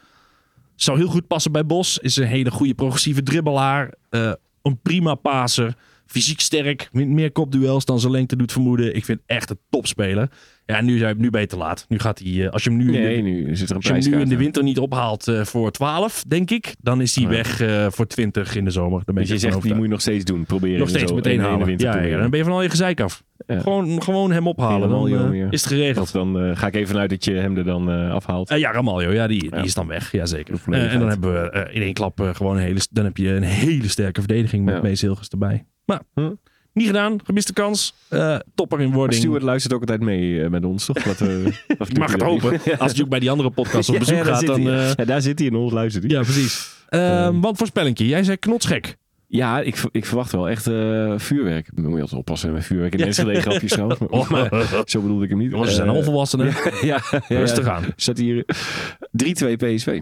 Speaker 1: Zou heel goed passen bij Bos. Is een hele goede progressieve dribbelaar. Eh, een prima paser. Fysiek sterk. Wint meer kopduels dan zijn lengte doet vermoeden. Ik vind echt een topspeler. Ja, nu, zijn- nu ben je te laat. Nu gaat hij, eh, als je hem nu in de-
Speaker 5: Nee, nu zit er een
Speaker 1: als je hem
Speaker 5: prijskaart
Speaker 1: nu in de
Speaker 5: aan.
Speaker 1: winter niet ophaalt eh, voor 12, denk ik, dan is hij
Speaker 5: Oh Ja.
Speaker 1: weg eh, voor 20 in de zomer. Dan ben
Speaker 5: Dus
Speaker 1: je,
Speaker 5: je zegt, die moet je nog steeds doen. Proberen.
Speaker 1: nog
Speaker 5: en
Speaker 1: steeds
Speaker 5: zo.
Speaker 1: meteen
Speaker 5: En in de
Speaker 1: halen.
Speaker 5: winter
Speaker 1: Ja, ja,
Speaker 5: proberen.
Speaker 1: dan ben je van al je gezeik af.
Speaker 5: Ja.
Speaker 1: Gewoon, gewoon hem ophalen, dan
Speaker 5: Helemaal,
Speaker 1: eh,
Speaker 5: joh, ja.
Speaker 1: is het geregeld.
Speaker 5: Want dan eh, ga ik even uit dat je hem er dan eh, afhaalt.
Speaker 1: Eh, ja, Ramaljo, ja, die,
Speaker 5: Ja.
Speaker 1: die is dan weg. Jazeker.
Speaker 5: De volledigheid.
Speaker 1: Eh, en dan hebben we eh, in één klap eh, gewoon een hele, dan heb je een hele sterke verdediging met
Speaker 5: Ja.
Speaker 1: Mees Hilgers erbij. Maar
Speaker 5: Hm.
Speaker 1: niet gedaan, gemiste kans. Eh, topper in
Speaker 5: Maar
Speaker 1: wording.
Speaker 5: Stuart luistert ook altijd mee eh, met ons, toch? Wat, <laughs> eh, of doet
Speaker 1: Ik mag
Speaker 5: hij
Speaker 1: het
Speaker 5: dat niet?
Speaker 1: hopen. Als hij ook bij die andere podcast op
Speaker 5: <laughs> Ja,
Speaker 1: bezoek
Speaker 5: ja, Ehm. daar
Speaker 1: gaat,
Speaker 5: zit
Speaker 1: dan...
Speaker 5: hij.
Speaker 1: eh,
Speaker 5: Ja, daar zit hij in ons luistert hij.
Speaker 1: ja, precies. Eh, want voorspellingje, jij zei knotsgek.
Speaker 5: Ja, ik, ver- ik verwacht wel echt eh, vuurwerk. Dan moet je altijd oppassen met vuurwerk. En Enschede grapjes trouwens. <laughs> Maar, Oh, maar zo bedoelde ik hem niet.
Speaker 1: Jongens, ze zijn
Speaker 5: Eh,
Speaker 1: al volwassenen. <laughs>
Speaker 5: <laughs> Ja, ja,
Speaker 1: Rustig
Speaker 5: ja.
Speaker 1: aan.
Speaker 5: Zat hier eh, 3-2 PSV.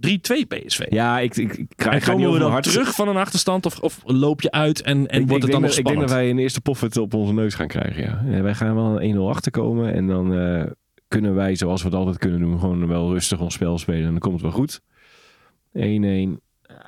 Speaker 1: 3-2 PSV.
Speaker 5: Ja, ik, ik, ik, ga-
Speaker 1: en
Speaker 5: ik ga
Speaker 1: komen
Speaker 5: niet
Speaker 1: we
Speaker 5: over
Speaker 1: dan
Speaker 5: mijn hart.
Speaker 1: terug van een achterstand of, of loop je uit en, en
Speaker 5: ik,
Speaker 1: wordt
Speaker 5: ik
Speaker 1: het dan
Speaker 5: denk
Speaker 1: nog
Speaker 5: dat, ik denk
Speaker 1: spannend?
Speaker 5: dat wij een eerste poffert op onze neus gaan krijgen. Ja. En wij gaan wel een 1-0 achterkomen. En dan eh, kunnen wij, zoals we het altijd kunnen doen, gewoon wel rustig ons spel spelen. En dan komt het wel goed. 1-1.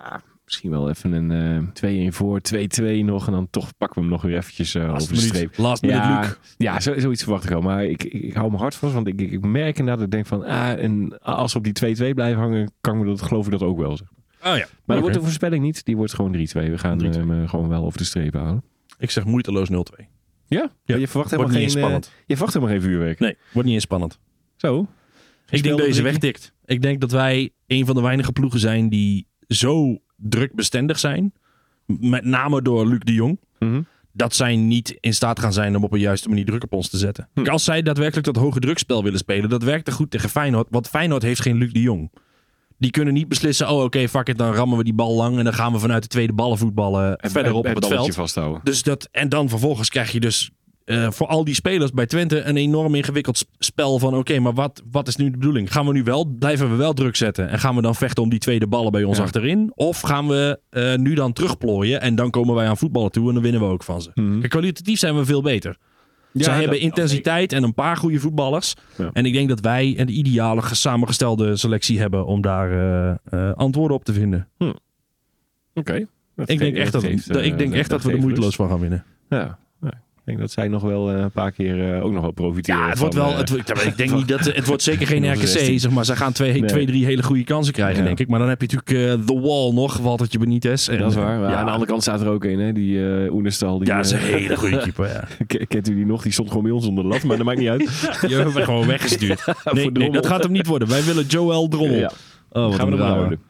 Speaker 5: Ah, misschien wel even een eh 2-1 voor. 2-2 nog. En dan toch pakken we hem nog weer eventjes eh,
Speaker 1: Last
Speaker 5: over de
Speaker 1: minuut.
Speaker 5: streep.
Speaker 1: Last minute
Speaker 5: Ja,
Speaker 1: Luke.
Speaker 5: ja zo, zoiets verwacht ik al. Maar ik, ik, ik hou mijn hart vast. Want ik, ik ik merk inderdaad dat ik denk van... Ah, en als we op die 2-2 blijven hangen, kan ik me dat, geloof ik dat ook wel. zeg. Maar
Speaker 1: Oh ja.
Speaker 5: dat
Speaker 1: Oké.
Speaker 5: wordt de voorspelling niet. Die wordt gewoon 3-2. We gaan
Speaker 1: 3-2.
Speaker 5: hem eh, gewoon wel over de streep halen.
Speaker 1: Ik zeg moeiteloos 0-2.
Speaker 5: Ja? Maar je verwacht helemaal
Speaker 1: wordt
Speaker 5: geen...
Speaker 1: niet
Speaker 5: eh,
Speaker 1: spannend.
Speaker 5: je verwacht helemaal geen vuurwerk.
Speaker 1: Nee, wordt niet eens spannend.
Speaker 5: Zo.
Speaker 1: Ik denk dat
Speaker 5: speelronde,
Speaker 1: deze
Speaker 5: denk
Speaker 1: wegtikt. Ik denk dat wij een van de weinige ploegen zijn die zo drukbestendig zijn. M- Met name door Luc de Jong.
Speaker 5: Mhm.
Speaker 1: Dat zij niet in staat gaan zijn om op een juiste manier druk op ons te zetten. Kijk, Als zij daadwerkelijk dat hoge drukspel willen spelen, dat werkte goed tegen Feyenoord. Want Feyenoord heeft geen Luc de Jong. Die kunnen niet beslissen, oh oké, fuck it, dan rammen we die bal lang. En dan gaan we vanuit de tweede ballen voetballen verderop op het veld.
Speaker 5: vasthouden.
Speaker 1: Dus dat, en dan vervolgens krijg je dus eh, voor al die spelers bij Twente een enorm ingewikkeld sp- spel van oké, maar wat, wat is nu de bedoeling? Gaan we nu wel, blijven we wel druk zetten en gaan we dan vechten om die tweede ballen bij ons
Speaker 5: Ja.
Speaker 1: achterin? Of gaan we eh, nu dan terugplooien en dan komen wij aan voetballen toe en dan winnen we ook van ze?
Speaker 5: Mhm.
Speaker 1: Kijk, kwalitatief zijn we veel beter. Ze hebben intensiteit en een paar goede voetballers.
Speaker 5: Ja.
Speaker 1: En ik denk dat wij een ideale ge- samengestelde selectie hebben om daar eh, eh, antwoorden op te vinden.
Speaker 5: Oké. Dat
Speaker 1: Ik denk
Speaker 5: geeft-
Speaker 1: echt dat,
Speaker 5: geeft, eh,
Speaker 1: ik denk echt dat we er
Speaker 5: geeft
Speaker 1: moeiteloos van
Speaker 5: rust.
Speaker 1: gaan winnen.
Speaker 5: Ja. Ja. Ik denk dat zij nog wel eh, een paar keer eh, ook nog wel profiteren.
Speaker 1: Ja, het wordt
Speaker 5: van,
Speaker 1: wel.
Speaker 5: eh,
Speaker 1: Het, wordt- ik
Speaker 5: <laughs>
Speaker 1: denk niet dat het wordt zeker geen
Speaker 5: Van onze
Speaker 1: RKC.
Speaker 5: 16.
Speaker 1: Zeg maar, ze gaan twee,
Speaker 5: Nee.
Speaker 1: twee, drie hele goede kansen krijgen,
Speaker 5: Ja.
Speaker 1: denk ik. Maar dan heb je natuurlijk eh The Wall nog, Waltertje Benitez. En,
Speaker 5: dat is waar. Maar
Speaker 1: Ja,
Speaker 5: Aan de andere kant staat er ook een, hè? Die eh Oenestal. Die,
Speaker 1: ja, dat is een
Speaker 5: eh, <laughs>
Speaker 1: hele goede keeper. Ja.
Speaker 5: K- Kent u die nog? Die stond gewoon bij ons onder de lat, maar dat maakt niet
Speaker 1: <laughs>
Speaker 5: uit.
Speaker 1: Die hebben we gewoon <laughs> weggestuurd. Nee, nee,
Speaker 5: Drommel.
Speaker 1: dat gaat hem niet worden. Wij willen Joel Drommel.
Speaker 5: Ja.
Speaker 1: Oh, wat
Speaker 5: Gaan we
Speaker 1: een
Speaker 5: hem
Speaker 1: drama.
Speaker 5: houden.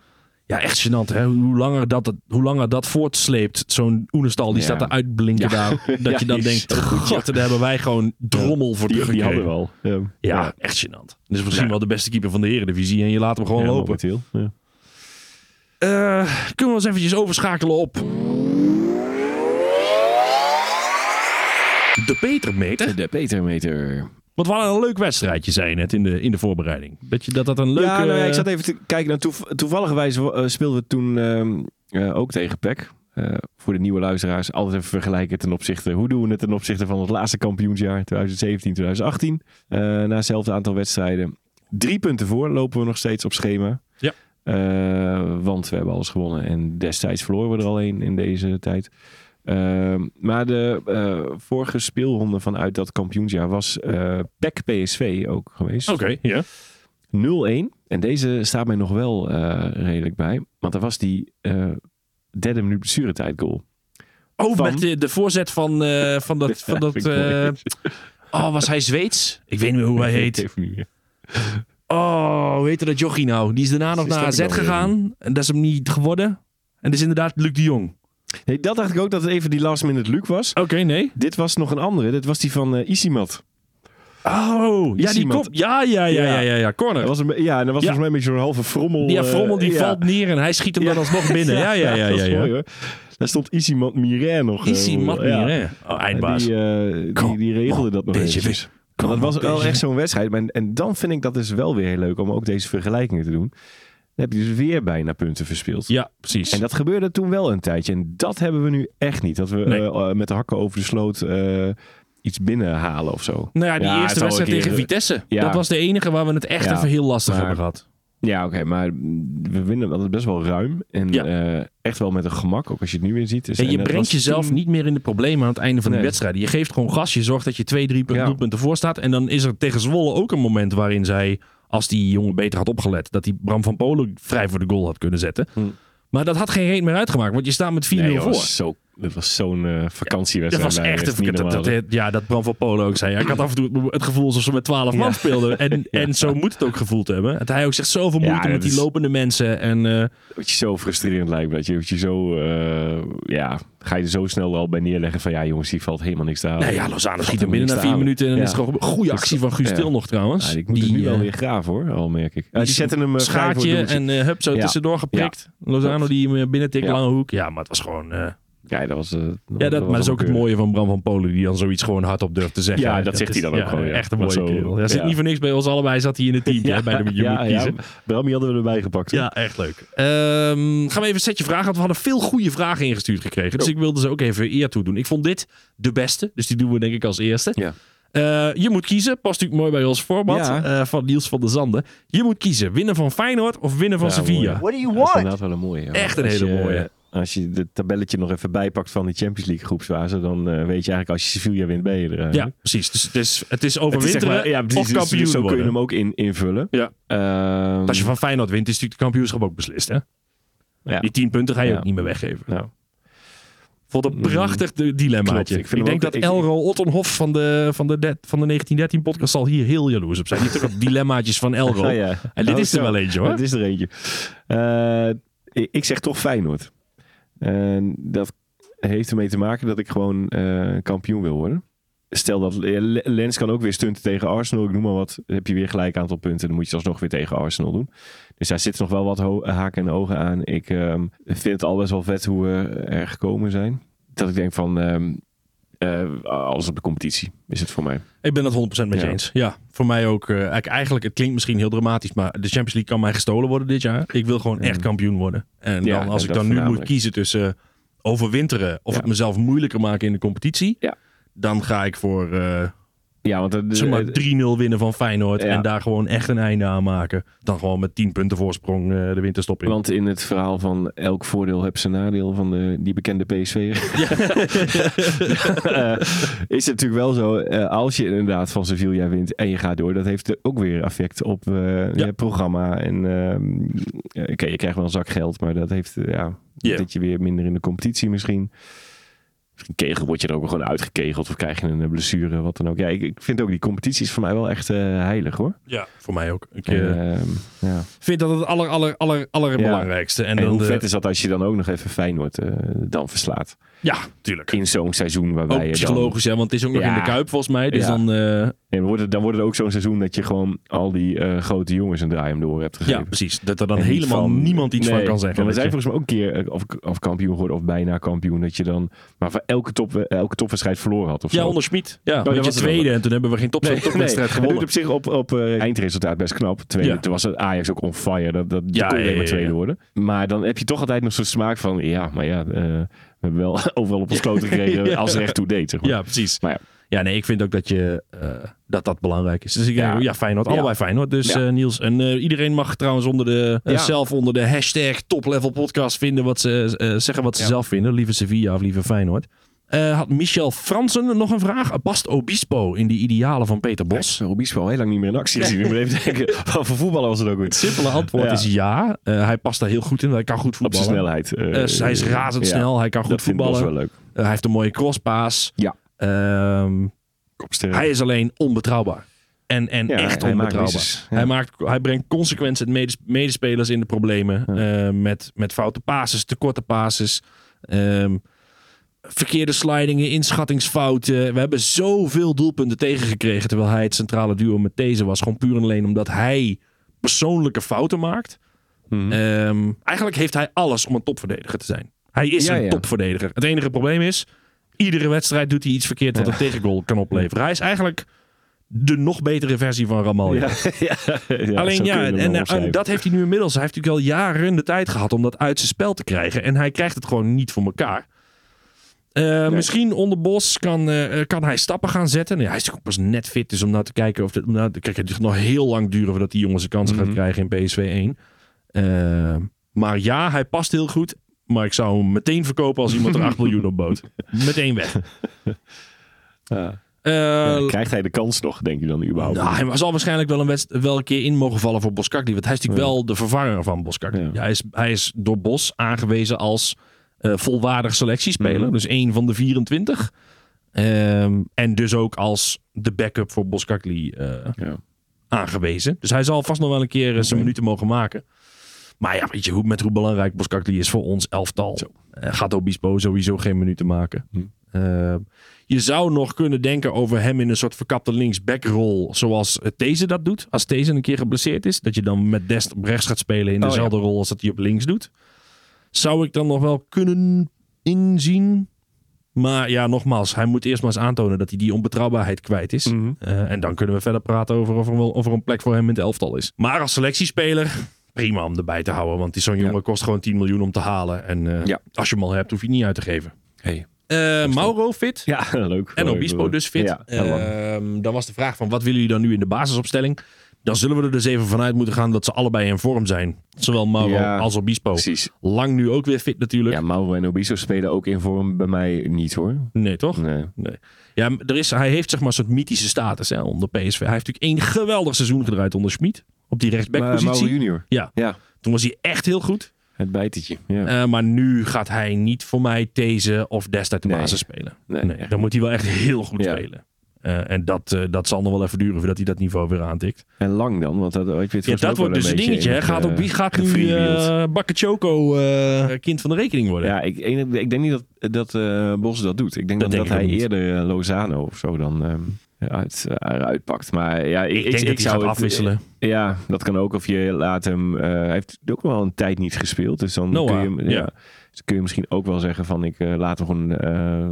Speaker 1: Ja, echt gênant. Hè? Hoe, langer dat, het- hoe langer dat voortsleept, zo'n Oenestal, die
Speaker 5: Ja.
Speaker 1: staat er uitblinken
Speaker 5: <laughs>
Speaker 1: daar. Dat
Speaker 5: Ja,
Speaker 1: je dan
Speaker 5: die is
Speaker 1: denkt,
Speaker 5: zo goed, ja.
Speaker 1: god, daar hebben wij gewoon drommel voor
Speaker 5: Die, die
Speaker 1: teruggekregen.
Speaker 5: hadden we al. Ja,
Speaker 1: Ja, echt gênant. Dus misschien wel de beste keeper van de Eredivisie en je laat hem gewoon
Speaker 5: Ja,
Speaker 1: lopen.
Speaker 5: momenteel. Ja.
Speaker 1: Eh, kunnen we eens eventjes overschakelen op... De Petermeter.
Speaker 5: De Petermeter.
Speaker 1: Want we hadden een leuk wedstrijdje, zei je net, in de, in de voorbereiding. Dat, je, dat dat een leuke...
Speaker 5: ja, nou ja, ik zat even te kijken. naar toev toevalligerwijs eh, speelden we toen ehm, eh, ook tegen PEC. Eh, voor de nieuwe luisteraars, altijd even vergelijken ten opzichte. Hoe doen we het ten opzichte van het laatste kampioensjaar 2017, 2018? Eh, na hetzelfde aantal wedstrijden. Drie punten voor lopen we nog steeds op schema.
Speaker 1: Ja.
Speaker 5: Eh, want we hebben alles gewonnen. En destijds verloren we er al één in deze tijd. Ehm, maar de eh, vorige speelronde vanuit dat kampioensjaar was eh PEC PSV ook geweest.
Speaker 1: Oké, ja.
Speaker 5: 0-1. En deze staat mij nog wel eh, redelijk bij. Want dat was die eh, derde minuut blessuretijd goal.
Speaker 1: Oh,
Speaker 5: Van-
Speaker 1: met de, de voorzet van, eh, van
Speaker 5: <laughs>
Speaker 1: dat... Van dat eh, oh, was hij Zweeds? Ik weet niet meer hoe hij heet.
Speaker 5: Even niet.
Speaker 1: Oh, hoe heette dat jochie nou? Die is daarna nog
Speaker 5: Is
Speaker 1: naar
Speaker 5: dat
Speaker 1: AZ
Speaker 5: nou weer?
Speaker 1: gegaan. En dat is hem niet geworden. En dat is inderdaad Luc de Jong.
Speaker 5: Nee, dat dacht ik ook dat het even die last minute Luke was.
Speaker 1: Oké, nee.
Speaker 5: Dit was nog een andere. Dit was die van eh, Isimat.
Speaker 1: Oh, ja,
Speaker 5: is
Speaker 1: die
Speaker 5: iemand-
Speaker 1: kop. Ja, ja, ja, ja, ja, ja. Corner.
Speaker 5: Dat was een, be- ja, en dat was
Speaker 1: Ja.
Speaker 5: volgens mij een beetje zo'n halve frommel.
Speaker 1: Die
Speaker 5: eh,
Speaker 1: Frommel die
Speaker 5: ja.
Speaker 1: valt neer en hij schiet hem dan alsnog binnen.
Speaker 5: <laughs>
Speaker 1: Ja, ja, ja.
Speaker 5: dat
Speaker 1: ja,
Speaker 5: is
Speaker 1: ja,
Speaker 5: mooi hoor. Daar stond Isimat Miret nog. eh,
Speaker 1: Easy mat
Speaker 5: ja.
Speaker 1: meer, hè? Oh,
Speaker 5: En
Speaker 1: eindbaas.
Speaker 5: Die, eh, die,
Speaker 1: Kom
Speaker 5: die regelde
Speaker 1: op,
Speaker 5: dat nog
Speaker 1: beetje
Speaker 5: eventjes.
Speaker 1: weg.
Speaker 5: Want dat
Speaker 1: Kom
Speaker 5: was
Speaker 1: op,
Speaker 5: wel
Speaker 1: deze
Speaker 5: echt zo'n wedstrijd. Maar, en dan vind ik dat dus wel weer heel leuk om ook deze vergelijkingen te doen. Dan heb je dus weer bijna punten verspeeld.
Speaker 1: Ja, precies.
Speaker 5: En dat gebeurde toen wel een tijdje. En dat hebben we nu echt niet. Dat we
Speaker 1: Nee.
Speaker 5: eh, eh, met de hakken over de sloot eh, iets binnenhalen of zo.
Speaker 1: nou ja, die
Speaker 5: het
Speaker 1: eerste
Speaker 5: zal wel
Speaker 1: wedstrijd
Speaker 5: een
Speaker 1: tegen
Speaker 5: keer-
Speaker 1: Vitesse.
Speaker 5: Ja.
Speaker 1: Dat was de enige waar we het echt
Speaker 5: Ja.
Speaker 1: even heel lastig
Speaker 5: Maar-
Speaker 1: hebben gehad.
Speaker 5: Ja, oké. maar we winnen altijd best wel ruim. En
Speaker 1: Ja.
Speaker 5: eh, echt wel met een gemak. Ook als je het nu weer ziet. Dus,
Speaker 1: En je
Speaker 5: dat
Speaker 1: brengt
Speaker 5: was
Speaker 1: jezelf
Speaker 5: toen-
Speaker 1: niet meer in de problemen aan het einde van de
Speaker 5: Nee.
Speaker 1: wedstrijd. Je geeft gewoon gas. Je zorgt dat je twee, drie punten,
Speaker 5: Ja.
Speaker 1: doelpunten voor staat. En dan is er tegen Zwolle ook een moment waarin zij, als die jongen beter had opgelet, dat die Bram van Polen vrij voor de goal had kunnen zetten. Maar dat had geen reet meer uitgemaakt, want je staat met 4-0
Speaker 5: Hm. Nee, joh,
Speaker 1: voor.
Speaker 5: Zo Dat was zo'n eh,
Speaker 1: Dat
Speaker 5: vakantiewedstrijd.
Speaker 1: was
Speaker 5: bij
Speaker 1: echt
Speaker 5: het
Speaker 1: een
Speaker 5: niet
Speaker 1: dat, dat,
Speaker 5: normale.
Speaker 1: dat- Ja, dat Bram van Polen ook zei. Ja, ik had af en toe het gevoel alsof ze met 12 man speelden. En,
Speaker 5: <laughs>
Speaker 1: en zo moet het ook gevoeld hebben. Dat hij ook zegt zoveel
Speaker 5: Ja,
Speaker 1: moeite
Speaker 5: dat
Speaker 1: met die
Speaker 5: is-
Speaker 1: lopende mensen. En eh,
Speaker 5: Wat je zo frustrerend lijkt. Dat je, dat je zo, eh, ja, ga je er zo snel al bij neerleggen van ja jongens, hier valt helemaal niks te halen.
Speaker 1: nou ja, Lozano
Speaker 5: Valt
Speaker 1: schiet hem binnen
Speaker 5: helemaal
Speaker 1: na
Speaker 5: niks
Speaker 1: vier
Speaker 5: te
Speaker 1: minuten.
Speaker 5: halen.
Speaker 1: En dan
Speaker 5: Ja.
Speaker 1: is het gewoon een goede
Speaker 5: Dat is-
Speaker 1: actie van Guus
Speaker 5: ja.
Speaker 1: Til nog trouwens.
Speaker 5: Ja, ik moet het nu
Speaker 1: eh,
Speaker 5: wel weer graven hoor, al merk ik. Ah, die zetten hem eh, vrij voor het
Speaker 1: schaartje
Speaker 5: doeltje.
Speaker 1: en eh hup, zo
Speaker 5: Ja.
Speaker 1: tussendoor geprikt. Lozano
Speaker 5: Klopt.
Speaker 1: die hem eh, binnen tikt,
Speaker 5: Ja.
Speaker 1: lange hoek. Ja, maar het was gewoon... eh,
Speaker 5: Ja, dat was... eh,
Speaker 1: ja, dat,
Speaker 5: was
Speaker 1: maar dat is ook het
Speaker 5: een-
Speaker 1: mooie van Bram van Polen, die dan zoiets gewoon hardop durft te zeggen.
Speaker 5: Ja, dat zegt
Speaker 1: is-
Speaker 5: hij dan ook gewoon, ja.
Speaker 1: Echt een
Speaker 5: Maar
Speaker 1: mooie
Speaker 5: zo-
Speaker 1: kerel. Ja, zit
Speaker 5: ja.
Speaker 1: niet voor niks bij ons allebei, zat hij in het team hè, bij de Je
Speaker 5: ja,
Speaker 1: Moet Kiezen.
Speaker 5: Ja, Brammy hadden we erbij gepakt.
Speaker 1: Ja, echt leuk. Ehm, gaan we even een setje vragen. Want we hadden veel goede vragen ingestuurd gekregen.
Speaker 5: Oh.
Speaker 1: Dus ik wilde ze ook even eer toe doen. Ik vond dit de beste. Dus die doen we denk ik als eerste.
Speaker 5: Ja.
Speaker 1: Eh, je moet kiezen. Past natuurlijk mooi bij ons format.
Speaker 5: Ja.
Speaker 1: eh, van Niels van der Zanden. Je moet kiezen. Winnen van Feyenoord of winnen van
Speaker 5: Ja,
Speaker 1: Sevilla.
Speaker 5: mooi.
Speaker 6: What do you
Speaker 5: Dat is
Speaker 6: want?
Speaker 5: inderdaad wel een mooie. ja.
Speaker 1: Echt een
Speaker 5: Als
Speaker 1: hele
Speaker 5: je- eh,
Speaker 1: mooie.
Speaker 5: Als je het tabelletje nog even bijpakt van de Champions League groepsfase, dan eh, weet je eigenlijk als je Sevilla wint, ben je er.
Speaker 1: Ja, precies. Dus het is, het is
Speaker 5: Het is
Speaker 1: overwinteren
Speaker 5: zeg maar, ja, precies,
Speaker 1: of
Speaker 5: dus
Speaker 1: kampioen
Speaker 5: Zo kun je
Speaker 1: worden.
Speaker 5: hem ook in, invullen.
Speaker 1: Ja.
Speaker 5: Ehm,
Speaker 1: Als je van Feyenoord wint, is natuurlijk het kampioenschap ook beslist. Hè?
Speaker 5: Ja.
Speaker 1: Die 10 punten ga je
Speaker 5: Ja.
Speaker 1: ook niet meer weggeven.
Speaker 5: nou,
Speaker 1: Vond een prachtig de- dilemmaatje.
Speaker 5: Klopt, ik
Speaker 1: ik
Speaker 5: vind hem
Speaker 1: denk
Speaker 5: ook-
Speaker 1: dat
Speaker 5: ik-
Speaker 1: Elro Ottenhof van de, van, de de- van de 1913 podcast zal hier heel jaloers op zijn. Die heeft
Speaker 5: <laughs>
Speaker 1: ook op dilemmaatjes van Elro.
Speaker 5: ah, ja.
Speaker 1: En dit
Speaker 5: Nou,
Speaker 1: is er
Speaker 5: zo.
Speaker 1: wel eentje
Speaker 5: <laughs>
Speaker 1: hoor.
Speaker 5: Het is er eentje. Eh, ik- ik zeg toch Feyenoord. En dat heeft ermee te maken dat ik gewoon eh, kampioen wil worden. Stel dat eh, Le- Lens kan ook weer stunten tegen Arsenal. Ik noem maar wat. Dan heb je weer gelijk aantal punten. Dan moet je het alsnog weer tegen Arsenal doen. Dus daar zitten nog wel wat ho- haken en ogen aan. Ik ehm, vind het al best wel vet hoe we er gekomen zijn. Dat ik denk van ehm, eh, alles op de competitie is het voor mij.
Speaker 1: Ik ben dat 100% met je
Speaker 5: Ja.
Speaker 1: eens. Ja, voor mij ook. eh, eigenlijk- eigenlijk, het klinkt misschien heel dramatisch, maar de Champions League kan mij gestolen worden dit jaar. Ik wil gewoon echt kampioen worden. En
Speaker 5: Ja,
Speaker 1: dan, als
Speaker 5: ja,
Speaker 1: ik
Speaker 5: dat
Speaker 1: dan nu moet
Speaker 5: voornamelijk.
Speaker 1: kiezen tussen eh, overwinteren of
Speaker 5: Ja.
Speaker 1: het mezelf moeilijker maken in de competitie,
Speaker 5: Ja.
Speaker 1: dan ga ik voor eh,
Speaker 5: Ja, want het-
Speaker 1: zeg maar
Speaker 5: het-
Speaker 1: 3-0 winnen van Feyenoord
Speaker 5: Eh, Ja.
Speaker 1: en daar gewoon echt een einde aan maken. Dan gewoon met 10 punten voorsprong eh, de winterstop in.
Speaker 5: Want in het verhaal van elk voordeel heb zijn nadeel van de, die bekende PSV. <laughs>
Speaker 1: <laughs>
Speaker 5: Eh, is het natuurlijk wel zo, eh, als je inderdaad van Sevilla wint en je gaat door, dat heeft er ook weer effect op eh,
Speaker 1: Ja.
Speaker 5: je programma. En ehm, eh, oké, je krijgt wel een zak geld, maar dat heeft, eh, ja,
Speaker 1: Ja.
Speaker 5: dat je weer minder in de competitie misschien. Misschien kegel word je er ook wel gewoon uitgekegeld of krijg je een eh, blessure, wat dan ook. Ja, ik, ik vind ook die competitie is voor mij wel echt eh, heilig hoor.
Speaker 1: Ja, voor mij ook. Ik eh,
Speaker 5: Ehm, ja.
Speaker 1: vind dat het aller, aller, aller, allerbelangrijkste. En,
Speaker 5: En,
Speaker 1: dan
Speaker 5: hoe
Speaker 1: de-
Speaker 5: vet is dat als je dan ook nog even Feyenoord eh, dan verslaat?
Speaker 1: Ja, tuurlijk.
Speaker 5: in zo'n seizoen waarbij
Speaker 1: Ook
Speaker 5: je
Speaker 1: psychologisch, hè, want het is ook nog
Speaker 5: Ja.
Speaker 1: in de Kuip volgens mij. Dus
Speaker 5: Ja.
Speaker 1: dan... eh,
Speaker 5: dan... Nee, wordt het, dan wordt het ook zo'n seizoen dat je gewoon al die eh, grote jongens een draai om door hebt gegeven.
Speaker 1: Ja, precies. Dat er dan
Speaker 5: En niet
Speaker 1: helemaal
Speaker 5: van-
Speaker 1: niemand iets
Speaker 5: Nee,
Speaker 1: van kan zeggen.
Speaker 5: want We
Speaker 1: dat
Speaker 5: zijn
Speaker 1: je-
Speaker 5: volgens mij ook een keer eh, of, of kampioen geworden of bijna kampioen. Dat je dan maar voor elke, top, eh, elke topwedstrijd verloren had of
Speaker 1: Ja,
Speaker 5: zo.
Speaker 1: onder Schmid. Ja, dat was
Speaker 5: Oh, was
Speaker 1: je
Speaker 5: het wel.
Speaker 1: tweede en toen hebben we geen top,
Speaker 5: Nee, nee.
Speaker 1: topwedstrijd
Speaker 5: Het doet
Speaker 1: gewonnen.
Speaker 5: op zich op, op eh, eindresultaat best knap. Tweede,
Speaker 1: Ja.
Speaker 5: Toen was het Ajax ook on fire. Dat, dat
Speaker 1: Ja,
Speaker 5: ja, kon
Speaker 1: ja,
Speaker 5: je alleen maar
Speaker 1: ja,
Speaker 5: tweede
Speaker 1: ja.
Speaker 5: worden. Maar dan heb je toch altijd nog zo'n smaak van... Ja, maar ja, eh, we hebben wel <laughs> overal op ons kloot gekregen
Speaker 1: <laughs> Ja.
Speaker 5: als er echt toe deed. Zeg maar.
Speaker 1: Ja, precies.
Speaker 5: Maar ja.
Speaker 1: Ja, nee, ik vind ook dat je, eh, dat, dat belangrijk is. Dus ik denk,
Speaker 5: Ja.
Speaker 1: ja, Feyenoord, allebei Feyenoord. Dus
Speaker 5: Ja.
Speaker 1: eh, Niels, en eh, iedereen mag trouwens onder de, eh,
Speaker 5: Ja.
Speaker 1: zelf onder de hashtag toplevel podcast vinden wat ze, eh, zeggen wat ze zelf vinden. Liever Sevilla of liever Feyenoord. Eh, had Michel Fransen nog een vraag? Past Obispo in die idealen van Peter Bos?
Speaker 5: Bos. Obispo al heel lang niet meer in actie gezien. Ik moet even denken, <laughs> wat voor voetballer was het ook goed?
Speaker 1: Simpele antwoord
Speaker 5: Ja.
Speaker 1: is ja. Eh, hij past daar heel goed in. Hij kan goed
Speaker 5: Op zijn
Speaker 1: voetballen.
Speaker 5: snelheid. eh,
Speaker 1: Eh, hij is razendsnel. hij kan goed
Speaker 5: dat vindt Bos
Speaker 1: voetballen.
Speaker 5: wel leuk.
Speaker 1: Eh, hij heeft een mooie crosspaas.
Speaker 5: Ja.
Speaker 1: Ehm,
Speaker 5: Kopsterk.
Speaker 1: hij is alleen onbetrouwbaar. En, en
Speaker 5: Ja,
Speaker 1: echt
Speaker 5: hij maakt
Speaker 1: onbetrouwbaar.
Speaker 5: misses. Ja.
Speaker 1: hij, maakt, hij brengt consequent het medes- medespelers in de problemen. eh, met, met foute passes, te korte passes. ehm, verkeerde slidingen, inschattingsfouten. We hebben zoveel doelpunten tegengekregen. Terwijl hij het centrale duo met deze was. Gewoon puur en alleen omdat hij persoonlijke fouten maakt.
Speaker 5: Mhm.
Speaker 1: Ehm, eigenlijk heeft hij alles om een topverdediger te zijn. Hij is
Speaker 5: Ja,
Speaker 1: een
Speaker 5: ja.
Speaker 1: topverdediger. Het enige probleem is, iedere wedstrijd doet hij iets verkeerd wat een tegengoal kan opleveren. Hij is eigenlijk de nog betere versie van Ramalja.
Speaker 5: <laughs> Ja, zo
Speaker 1: Alleen
Speaker 5: kun je
Speaker 1: ja, en,
Speaker 5: hem
Speaker 1: eh,
Speaker 5: wel
Speaker 1: en
Speaker 5: omschrijven.
Speaker 1: dat heeft hij nu inmiddels. Hij heeft natuurlijk al jaren de tijd gehad om dat uit zijn spel te krijgen. En hij krijgt het gewoon niet voor elkaar. Eh, Misschien onder Bos kan, eh, kan hij stappen gaan zetten. Nee, hij is natuurlijk ook pas net fit, dus om nou te kijken of... Dit, om nou, te- kijk, het gaat nog heel lang duren voordat die jongens een kans gaat
Speaker 5: Mhm.
Speaker 1: krijgen in PSV 1. Eh, maar ja, hij past heel goed. Maar ik zou hem meteen verkopen als iemand er 8 miljoen op
Speaker 5: <laughs>
Speaker 1: bood. Meteen weg.
Speaker 5: Ja.
Speaker 1: Eh,
Speaker 5: Ja, Krijgt hij de kans nog, denk je dan überhaupt?
Speaker 1: nou, hij zal waarschijnlijk wel een, wedst- wel een keer in mogen vallen voor Boskakli. Want hij is natuurlijk wel de vervanger van Boskakli.
Speaker 5: Ja.
Speaker 1: Ja, hij, is, hij is door Bos aangewezen als eh, volwaardig selectiespeler. Dus één van de 24. Ehm, en dus ook als de backup voor Boskakli eh
Speaker 5: Ja. <laughs>
Speaker 1: aangewezen. Dus hij zal vast nog wel een keer eh, zijn minuten mogen maken. Maar ja, weet je hoe, met hoe belangrijk Boskakli is voor ons elftal. Eh, gaat Obispo sowieso geen minuten maken. Eh, je zou nog kunnen denken over hem in een soort verkapte linksbackrol. Zoals eh, These dat doet. Als These een keer geblesseerd is. Dat je dan met Dest op rechts gaat spelen in
Speaker 5: Oh,
Speaker 1: dezelfde rol als dat hij op links doet. Zou ik dan nog wel kunnen inzien. Maar ja, nogmaals. Hij moet eerst maar eens aantonen dat hij die onbetrouwbaarheid kwijt is.
Speaker 5: Mhm.
Speaker 1: Eh, en dan kunnen we verder praten over of er, wel, of er een plek voor hem in het elftal is. Maar als selectiespeler, prima om erbij te houden. Want die- zo'n jongen kost gewoon 10 miljoen om te halen. En eh,
Speaker 5: Ja.
Speaker 1: als je hem al hebt, hoef je niet uit te geven.
Speaker 5: Hey.
Speaker 1: Eh, Mauro fit.
Speaker 5: Ja, leuk.
Speaker 1: En Obispo dus fit.
Speaker 5: Ja, ja, man.
Speaker 1: Ehm, dan was de vraag van wat willen jullie dan nu in de basisopstelling? Dan zullen we er dus even vanuit moeten gaan dat ze allebei in vorm zijn. Zowel Mauro
Speaker 5: Ja,
Speaker 1: als Obispo.
Speaker 5: precies.
Speaker 1: Lang nu ook weer fit natuurlijk.
Speaker 5: Ja, Mauro en Obispo spelen ook in vorm bij mij niet hoor.
Speaker 1: Nee, toch?
Speaker 5: Nee.
Speaker 1: Nee. Ja, m- er is, hij heeft zeg maar een soort mythische status hè, onder PSV. Hij heeft natuurlijk één geweldig seizoen gedraaid onder Schmid. Op die
Speaker 5: Maar Mauro
Speaker 1: rechtsbackpositie.
Speaker 5: junior.
Speaker 1: ja,
Speaker 5: Ja,
Speaker 1: toen was hij echt heel goed.
Speaker 5: het bijtetje. Ja.
Speaker 1: Eh, maar nu gaat hij niet voor mij deze of destijds de
Speaker 5: Nee.
Speaker 1: basis spelen.
Speaker 5: Nee,
Speaker 1: Nee,
Speaker 5: echt
Speaker 1: dan moet hij wel echt heel goed
Speaker 5: Ja.
Speaker 1: spelen. Eh, en dat, eh, dat zal nog wel even duren voordat hij dat niveau weer aantikt.
Speaker 5: En lang dan, want dat, oh, ik weet
Speaker 1: Ja, dat wordt dus een dingetje. hè. Gaat op wie gaat nu eh Bakker Choco eh, kind van de rekening worden?
Speaker 5: Ja, ik, ik, ik denk niet dat, dat eh, Bos dat doet. Ik denk
Speaker 1: Dat
Speaker 5: dat,
Speaker 1: denk
Speaker 5: dat
Speaker 1: ik ook
Speaker 5: hij
Speaker 1: niet.
Speaker 5: eerder eh, Lozano of zo dan ehm, uit, eruit pakt. Maar ja, ik,
Speaker 1: ik, denk dat hij
Speaker 5: zou
Speaker 1: gaat
Speaker 5: het-
Speaker 1: afwisselen.
Speaker 5: Ja, dat kan ook. Of je laat hem. eh, hij heeft ook wel een tijd niet gespeeld. Dus dan
Speaker 1: Noah,
Speaker 5: kun je hem. Ja,
Speaker 1: ja.
Speaker 5: Dus kun je misschien ook wel zeggen van ik eh, laat hem gewoon eh,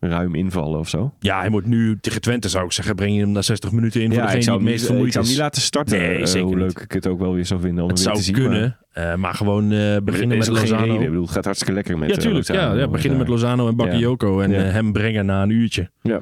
Speaker 5: ruim invallen of zo.
Speaker 1: Ja, hij moet nu tegen Twente zou ik zeggen, breng je hem na 60 minuten in voor
Speaker 5: ik
Speaker 1: degene die
Speaker 5: zou
Speaker 1: het
Speaker 5: hem
Speaker 1: meest
Speaker 5: niet-
Speaker 1: vermoeid
Speaker 5: ik zou hem
Speaker 1: is.
Speaker 5: niet laten starten.
Speaker 1: Nee,
Speaker 5: eh,
Speaker 1: zeker
Speaker 5: hoe
Speaker 1: niet.
Speaker 5: leuk ik het ook wel weer zou vinden om
Speaker 1: het
Speaker 5: hem weer
Speaker 1: zou
Speaker 5: te zien.
Speaker 1: kunnen,
Speaker 5: maar-
Speaker 1: eh, maar gewoon eh, beginnen
Speaker 5: Er
Speaker 1: met
Speaker 5: is ook geen
Speaker 1: Lozano.
Speaker 5: reden. Ik bedoel, het gaat hartstikke lekker met
Speaker 1: ja,
Speaker 5: eh,
Speaker 1: tuurlijk. Ja,
Speaker 5: Lozano.
Speaker 1: ja, beginnen met Lozano en Bakayoko en
Speaker 5: Ja.
Speaker 1: eh, hem brengen na een uurtje. <laughs>
Speaker 5: Ja.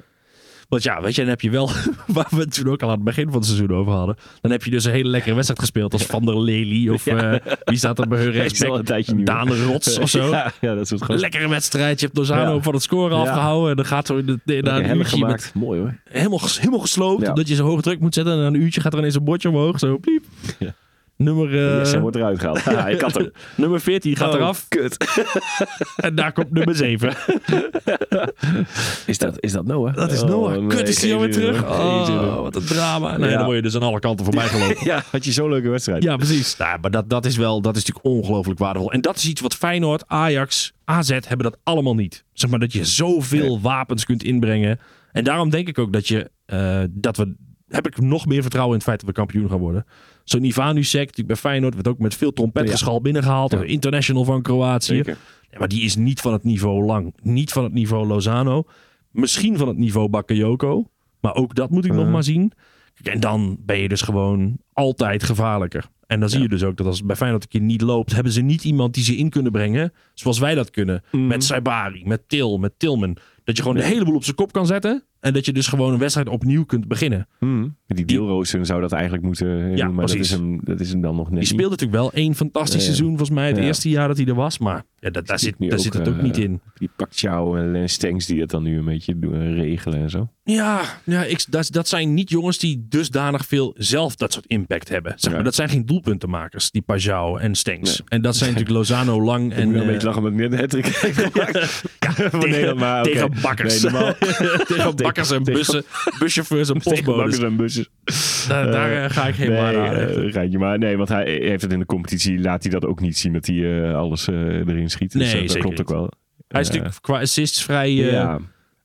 Speaker 1: Want ja, weet je, dan heb je wel, <laughs> waar we het toen ook al aan het begin van het seizoen over hadden, dan heb je dus een hele lekkere wedstrijd gespeeld als Van der Lely of eh, wie staat er bij hun
Speaker 5: is al een tijdje
Speaker 1: rechtsback?
Speaker 5: niet
Speaker 1: Daan Rots of zo.
Speaker 5: Ja, ja, dat soort gewoon
Speaker 1: Lekkere wedstrijd, je hebt Lozano
Speaker 5: Ja.
Speaker 1: van het scoren
Speaker 5: Ja.
Speaker 1: afgehouden en dan gaat zo in de, in- na een
Speaker 5: helle
Speaker 1: uurtje
Speaker 5: gemaakt.
Speaker 1: met,
Speaker 5: Mooi hoor.
Speaker 1: helemaal, ges- helemaal gesloopt,
Speaker 5: Ja.
Speaker 1: dat je zo hoge druk moet zetten en na een uurtje gaat er ineens een bordje omhoog, zo pliep.
Speaker 5: Ja.
Speaker 1: Nummer, eh,
Speaker 5: Jesse wordt eruit
Speaker 1: <laughs>
Speaker 5: gehaald. Ja, <laughs> ik had hem.
Speaker 1: nummer 14 gaat
Speaker 5: Oh,
Speaker 1: eraf
Speaker 5: Kut.
Speaker 1: en daar komt nummer 7.
Speaker 5: <laughs> Is dat, is dat Noah?
Speaker 1: Dat is Noah. Oh,
Speaker 5: Oh, nee,
Speaker 1: Kut, is hij
Speaker 5: geen
Speaker 1: alweer
Speaker 5: zin in,
Speaker 1: terug?
Speaker 5: hoor. Geen zin in.
Speaker 1: Oh, wat een drama. Nee,
Speaker 5: Ja.
Speaker 1: dan word je dus aan alle kanten voorbij gelopen.
Speaker 5: Ja, <laughs> had je zo'n leuke wedstrijd.
Speaker 1: Ja, precies. Nou, maar dat, dat is wel, dat is natuurlijk ongelooflijk waardevol. En dat is iets wat Feyenoord, Ajax, AZ hebben dat allemaal niet. Zeg maar dat je zoveel wapens kunt inbrengen. En daarom denk ik ook dat je, eh, dat we, heb ik nog meer vertrouwen in het feit dat we kampioen gaan worden. Zo'n Ivanusek, natuurlijk bij Feyenoord, werd ook met veel trompetgeschal binnengehaald. Een International van Kroatië.
Speaker 5: Zeker.
Speaker 1: Ja, maar die is niet van het niveau Lang. Niet van het niveau Lozano. Misschien van het niveau Bakayoko. Maar ook dat moet ik
Speaker 5: Eh.
Speaker 1: nog maar zien. Kijk, En dan ben je dus gewoon altijd gevaarlijker. En dan zie je dus ook dat als het bij Feyenoord een keer niet loopt... hebben ze niet iemand die ze in kunnen brengen zoals wij dat kunnen.
Speaker 5: Mhm.
Speaker 1: Met Saibari, met Til, met Tilman. Dat je gewoon de hele boel op zijn kop kan zetten. En dat je dus gewoon een wedstrijd opnieuw kunt beginnen.
Speaker 5: Hmm. Die deelrooster zou dat eigenlijk moeten eh,
Speaker 1: Ja,
Speaker 5: doen, maar dat
Speaker 1: precies.
Speaker 5: is, hem, dat is hem dan nog net
Speaker 1: Die
Speaker 5: niet.
Speaker 1: speelde natuurlijk wel één fantastisch
Speaker 5: Ja, ja.
Speaker 1: seizoen volgens mij. Het
Speaker 5: Ja.
Speaker 1: eerste jaar dat hij er was. Maar ja, dat, daar,
Speaker 5: Die
Speaker 1: zit,
Speaker 5: nu
Speaker 1: daar zit het ook
Speaker 5: eh,
Speaker 1: niet in.
Speaker 5: Die Pacquiao en Lens Stengs die dat dan nu een beetje doen, eh, regelen en zo.
Speaker 1: Ja, ja ik, dat, dat zijn niet jongens die dusdanig veel zelf dat soort impact hebben. Zeg maar,
Speaker 5: Ja.
Speaker 1: Dat zijn geen doelpuntenmakers, die Pajau en Stenks. En dat zijn natuurlijk Lozano, Lang en...
Speaker 5: En een
Speaker 1: eh,
Speaker 5: beetje lachen met net
Speaker 1: <laughs>
Speaker 5: een <laughs> hat-trick heeft gemaakt. <laughs> Van Nederland, maar oké.
Speaker 1: tegen bakkers. <laughs>
Speaker 5: Nee, normaal- <laughs>
Speaker 1: tegen bakkers en
Speaker 5: tegen-
Speaker 1: bussen, buschauffeurs en
Speaker 5: <laughs> tegen bakkers
Speaker 1: postbodes.
Speaker 5: en bussen.
Speaker 1: Daar, daar eh, ga ik geen
Speaker 5: Nee,
Speaker 1: waarde aan hechten.
Speaker 5: eh, Rijntje, maar nee, want hij heeft het in de competitie. Laat hij dat ook niet zien dat hij eh, alles eh, erin schiet. Dus
Speaker 1: Nee,
Speaker 5: dat- dat
Speaker 1: zeker
Speaker 5: klopt
Speaker 1: niet.
Speaker 5: ook wel.
Speaker 1: Hij is
Speaker 5: eh,
Speaker 1: natuurlijk qua assists vrij eh,
Speaker 5: ja,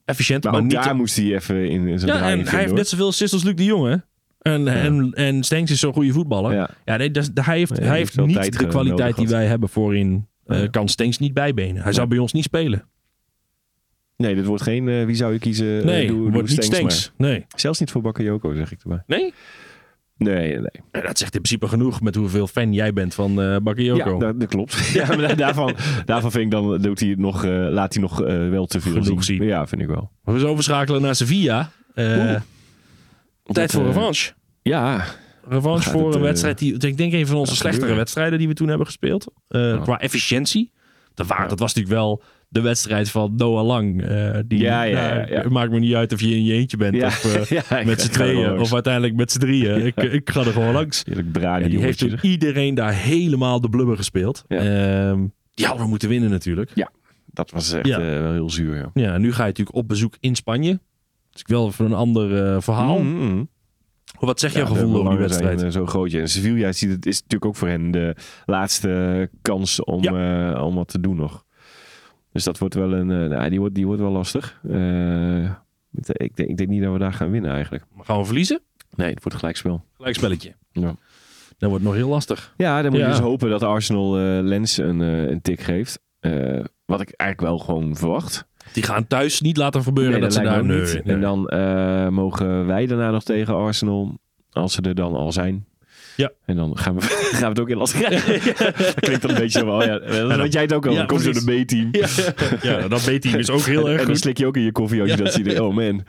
Speaker 1: efficiënt,
Speaker 5: maar,
Speaker 1: maar,
Speaker 5: ook
Speaker 1: niet...
Speaker 5: daar moest hij even in, in zijn
Speaker 1: ja,
Speaker 5: draai
Speaker 1: en hij heeft net zoveel assists als Luc de Jonge. En, en, en Stenks is zo'n goede voetballer.
Speaker 5: Ja.
Speaker 1: Ja, nee, dat is- hij heeft,
Speaker 5: Nee,
Speaker 1: hij
Speaker 5: die
Speaker 1: heeft
Speaker 5: heeft wel
Speaker 1: niet
Speaker 5: tijd
Speaker 1: de
Speaker 5: ge-
Speaker 1: kwaliteit
Speaker 5: nodig
Speaker 1: die
Speaker 5: gehad.
Speaker 1: wij hebben voorin. eh
Speaker 5: Ja.
Speaker 1: kan Stenks niet bijbenen. Hij zou bij ons niet spelen.
Speaker 5: Nee, dit wordt geen eh, wie zou je kiezen. eh,
Speaker 1: Nee,
Speaker 5: doe- doe
Speaker 1: wordt niet
Speaker 5: Stenks maar.
Speaker 1: Stenks. Nee.
Speaker 5: Zelfs niet voor Bakayoko, zeg ik erbij.
Speaker 1: nee?
Speaker 5: Nee, nee.
Speaker 1: Eh, Dat zegt in principe genoeg met hoeveel fan jij bent van eh Bakayoko.
Speaker 5: Ja, dat, dat
Speaker 1: <laughs>
Speaker 5: klopt. ja, maar da- daarvan, daarvan vind ik dan doet hij het nog, eh, laat hij nog eh, wel te veel
Speaker 1: Genoeg zien.
Speaker 5: Ja, vind ik wel.
Speaker 1: We zo overschakelen naar Sevilla. Eh, tijd
Speaker 5: Dat,
Speaker 1: voor
Speaker 5: eh,
Speaker 1: revanche.
Speaker 5: Ja,
Speaker 1: Revanche
Speaker 5: gaat
Speaker 1: voor
Speaker 5: het,
Speaker 1: een
Speaker 5: eh,
Speaker 1: wedstrijd die... Ik denk een van onze slechtere
Speaker 5: gebeuren.
Speaker 1: wedstrijden die we toen hebben gespeeld. eh,
Speaker 5: Ja.
Speaker 1: Qua efficiëntie. Dat, waren, dat was natuurlijk wel de wedstrijd van Noah Lang. eh, die,
Speaker 5: Ja, ja, ja,
Speaker 1: nou,
Speaker 5: ja.
Speaker 1: Het maakt me niet uit of je in je eentje bent
Speaker 5: Ja.
Speaker 1: of eh,
Speaker 5: <laughs> Ja, ik
Speaker 1: met
Speaker 5: ga-
Speaker 1: z'n
Speaker 5: ik ga er wel
Speaker 1: tweeën.
Speaker 5: langs.
Speaker 1: Of uiteindelijk met z'n drieën. Ik, eh, ik ga er gewoon langs.
Speaker 5: eerlijk braai
Speaker 1: Ja, die heeft toen iedereen daar helemaal de blubber gespeeld.
Speaker 5: Ja.
Speaker 1: Ehm, die hadden we moeten winnen natuurlijk.
Speaker 5: Ja, Dat was echt
Speaker 1: Ja.
Speaker 5: eh, wel heel zuur, ja.
Speaker 1: Ja, nu ga je natuurlijk op bezoek in Spanje. Dat is wel even een ander eh, verhaal.
Speaker 5: Mm, mm.
Speaker 1: Wat zegt
Speaker 5: Ja,
Speaker 1: jouw gevoel
Speaker 5: de
Speaker 1: over die
Speaker 5: belangen zijn,
Speaker 1: wedstrijd?
Speaker 5: eh, zo groot. ja. En Sevilla ziet het, is natuurlijk ook voor hen de laatste kans om, eh, om wat te doen nog. Dus dat wordt wel een. eh, nou, die, wordt, die wordt wel lastig. Eh, ik, denk, ik denk niet dat we daar gaan winnen eigenlijk.
Speaker 1: Gaan we verliezen?
Speaker 5: Nee, het wordt gelijkspel.
Speaker 1: Gelijk spelletje.
Speaker 5: eh, Ja.
Speaker 1: Dat wordt nog heel lastig.
Speaker 5: Ja, dan moet
Speaker 1: Ja.
Speaker 5: je dus hopen dat Arsenal eh, Lens een, eh, een tik geeft. Eh, wat ik eigenlijk wel gewoon verwacht.
Speaker 1: Die gaan thuis niet laten gebeuren dat, ze
Speaker 5: lijkt
Speaker 1: daar...
Speaker 5: me ook
Speaker 1: Nee,
Speaker 5: niet.
Speaker 1: nee.
Speaker 5: En dan eh, mogen wij daarna nog tegen Arsenal. Als ze er dan al zijn.
Speaker 1: Ja.
Speaker 5: En dan gaan we, <laughs> gaan we het ook in
Speaker 1: <laughs>
Speaker 5: last krijgen. Klinkt dan een beetje zo. van, Oh ja, dat weet jij het ook al.
Speaker 1: Ja,
Speaker 5: dan komt
Speaker 1: precies.
Speaker 5: zo'n B-team.
Speaker 1: Ja, ja dat weet hij dus ook heel
Speaker 5: <laughs> en,
Speaker 1: erg
Speaker 5: en dan
Speaker 1: goed.
Speaker 5: slik je ook in je koffie als je dat ziet.
Speaker 1: <laughs>
Speaker 5: denk je, Oh man.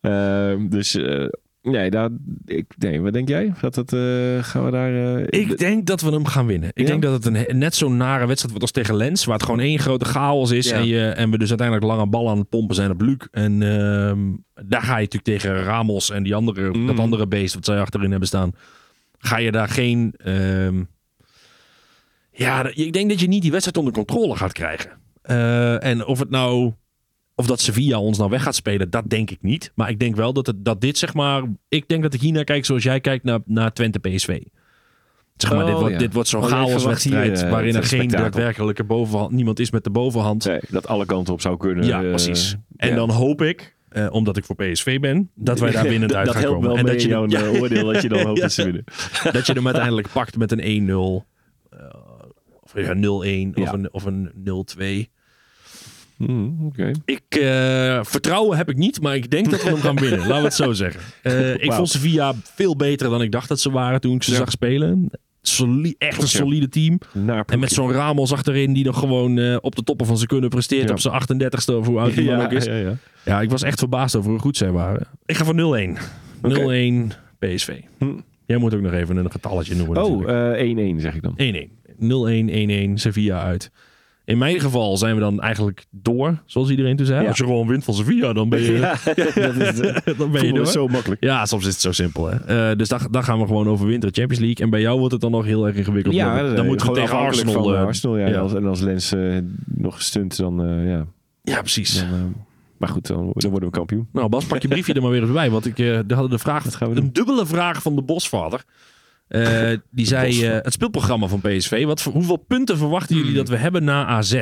Speaker 5: Ehm, dus eh, nee, daar, ik, nee, wat denk jij? Dat het, eh, gaan we daar... eh,
Speaker 1: Ik denk dat we hem gaan winnen. Ik
Speaker 5: Ja?
Speaker 1: denk dat het een he- net zo'n nare wedstrijd wordt als tegen Lens. Waar het gewoon één grote chaos is.
Speaker 5: Ja.
Speaker 1: En, je, en we dus uiteindelijk lange ballen aan het pompen zijn op Luc. En ehm, daar ga je natuurlijk tegen Ramos en die andere,
Speaker 5: Mm.
Speaker 1: dat andere beest wat zij achterin hebben staan. Ga je daar geen... ehm, ja, d- ik denk dat je niet die wedstrijd onder controle gaat krijgen. Eh, en of het nou... Of dat Sevilla ons nou weg gaat spelen, dat denk ik niet. Maar ik denk wel dat, het, dat dit, zeg maar... Ik denk dat ik hiernaar kijk zoals jij kijkt naar, naar Twente PSV. Zeg maar,
Speaker 5: Oh,
Speaker 1: dit, wordt,
Speaker 5: ja.
Speaker 1: dit wordt zo'n
Speaker 5: Oh, jij
Speaker 1: chaos
Speaker 5: verwacht hier,
Speaker 1: wedstrijd
Speaker 5: eh,
Speaker 1: waarin er
Speaker 5: het
Speaker 1: geen
Speaker 5: spektakel.
Speaker 1: daadwerkelijke bovenhand... Niemand is met de bovenhand.
Speaker 5: nee, dat alle kanten op zou kunnen.
Speaker 1: ja,
Speaker 5: eh,
Speaker 1: precies. En
Speaker 5: ja.
Speaker 1: dan hoop ik, eh, omdat ik voor PSV ben, dat wij daar winnend uit
Speaker 5: <laughs> dat
Speaker 1: gaan
Speaker 5: helpt
Speaker 1: komen.
Speaker 5: wel
Speaker 1: en
Speaker 5: mee
Speaker 1: dat je,
Speaker 5: in jouw
Speaker 1: hem, ja,
Speaker 5: eh, oordeel dat je
Speaker 1: <laughs>
Speaker 5: dan hoopt dat ze winnen.
Speaker 1: dat je hem uiteindelijk pakt met een 1-0. eh, of ja, 0-1 of
Speaker 5: Ja.
Speaker 1: een, of een 0-2.
Speaker 5: Hmm, Oké.
Speaker 1: Ik, eh, vertrouwen heb ik niet, maar ik denk dat we hem gaan
Speaker 5: <laughs>
Speaker 1: winnen. Laten we het zo zeggen. Eh, Ik
Speaker 5: Wauw.
Speaker 1: vond Sevilla veel beter dan ik dacht dat ze waren toen ik ze
Speaker 5: Ja.
Speaker 1: zag spelen. Soli- echt een
Speaker 5: Klopt, ja.
Speaker 1: solide team.
Speaker 5: Naar
Speaker 1: En met zo'n Ramos achterin die nog gewoon eh, op de toppen van zijn kunnen presteert.
Speaker 5: Ja.
Speaker 1: Op zijn 38ste of hoe oud die man ook is. Ja.
Speaker 5: Ja, ja.
Speaker 1: ik was echt verbaasd over hoe goed zij waren. Ik ga voor 0-1. 0-1 PSV.
Speaker 5: Hm.
Speaker 1: Jij moet ook nog even een getalletje noemen
Speaker 5: Oh,
Speaker 1: natuurlijk.
Speaker 5: eh, 1-1 zeg ik dan.
Speaker 1: 1-1. 0-1, 1-1, Sevilla uit. In mijn geval zijn we dan eigenlijk door, zoals iedereen toen zei.
Speaker 5: Ja.
Speaker 1: Als je gewoon wint van Sevilla, dan
Speaker 5: <laughs>
Speaker 1: ben je,
Speaker 5: dat is,
Speaker 1: <laughs>
Speaker 5: eh,
Speaker 1: dan ben je
Speaker 5: voetbal
Speaker 1: door.
Speaker 5: is zo makkelijk.
Speaker 1: Ja, soms is het zo simpel. Hè? Eh, dus dan, dan gaan we gewoon overwinteren Champions League. En bij jou wordt het dan nog heel erg ingewikkeld. worden. dan moeten we
Speaker 5: eh, gewoon
Speaker 1: tegen
Speaker 5: afhankelijk
Speaker 1: Arsenal.
Speaker 5: van, eh,
Speaker 1: eh,
Speaker 5: Arsenal ja.
Speaker 1: ja.
Speaker 5: En, als, en als Lens eh, nog stunt, dan, eh, ja,
Speaker 1: ja, precies.
Speaker 5: dan eh, maar goed, dan, dan worden we kampioen.
Speaker 1: Nou, Bas, <laughs> pak je briefje er maar weer eens bij. Want ik, eh er hadden de vraag,
Speaker 5: Dat gaan we doen.
Speaker 1: een dubbele vraag van de Bosvader. Eh, die zei, eh,
Speaker 5: Bosvader.
Speaker 1: het speelprogramma van PSV. Wat, voor- hoeveel punten verwachten jullie dat we hebben na AZ?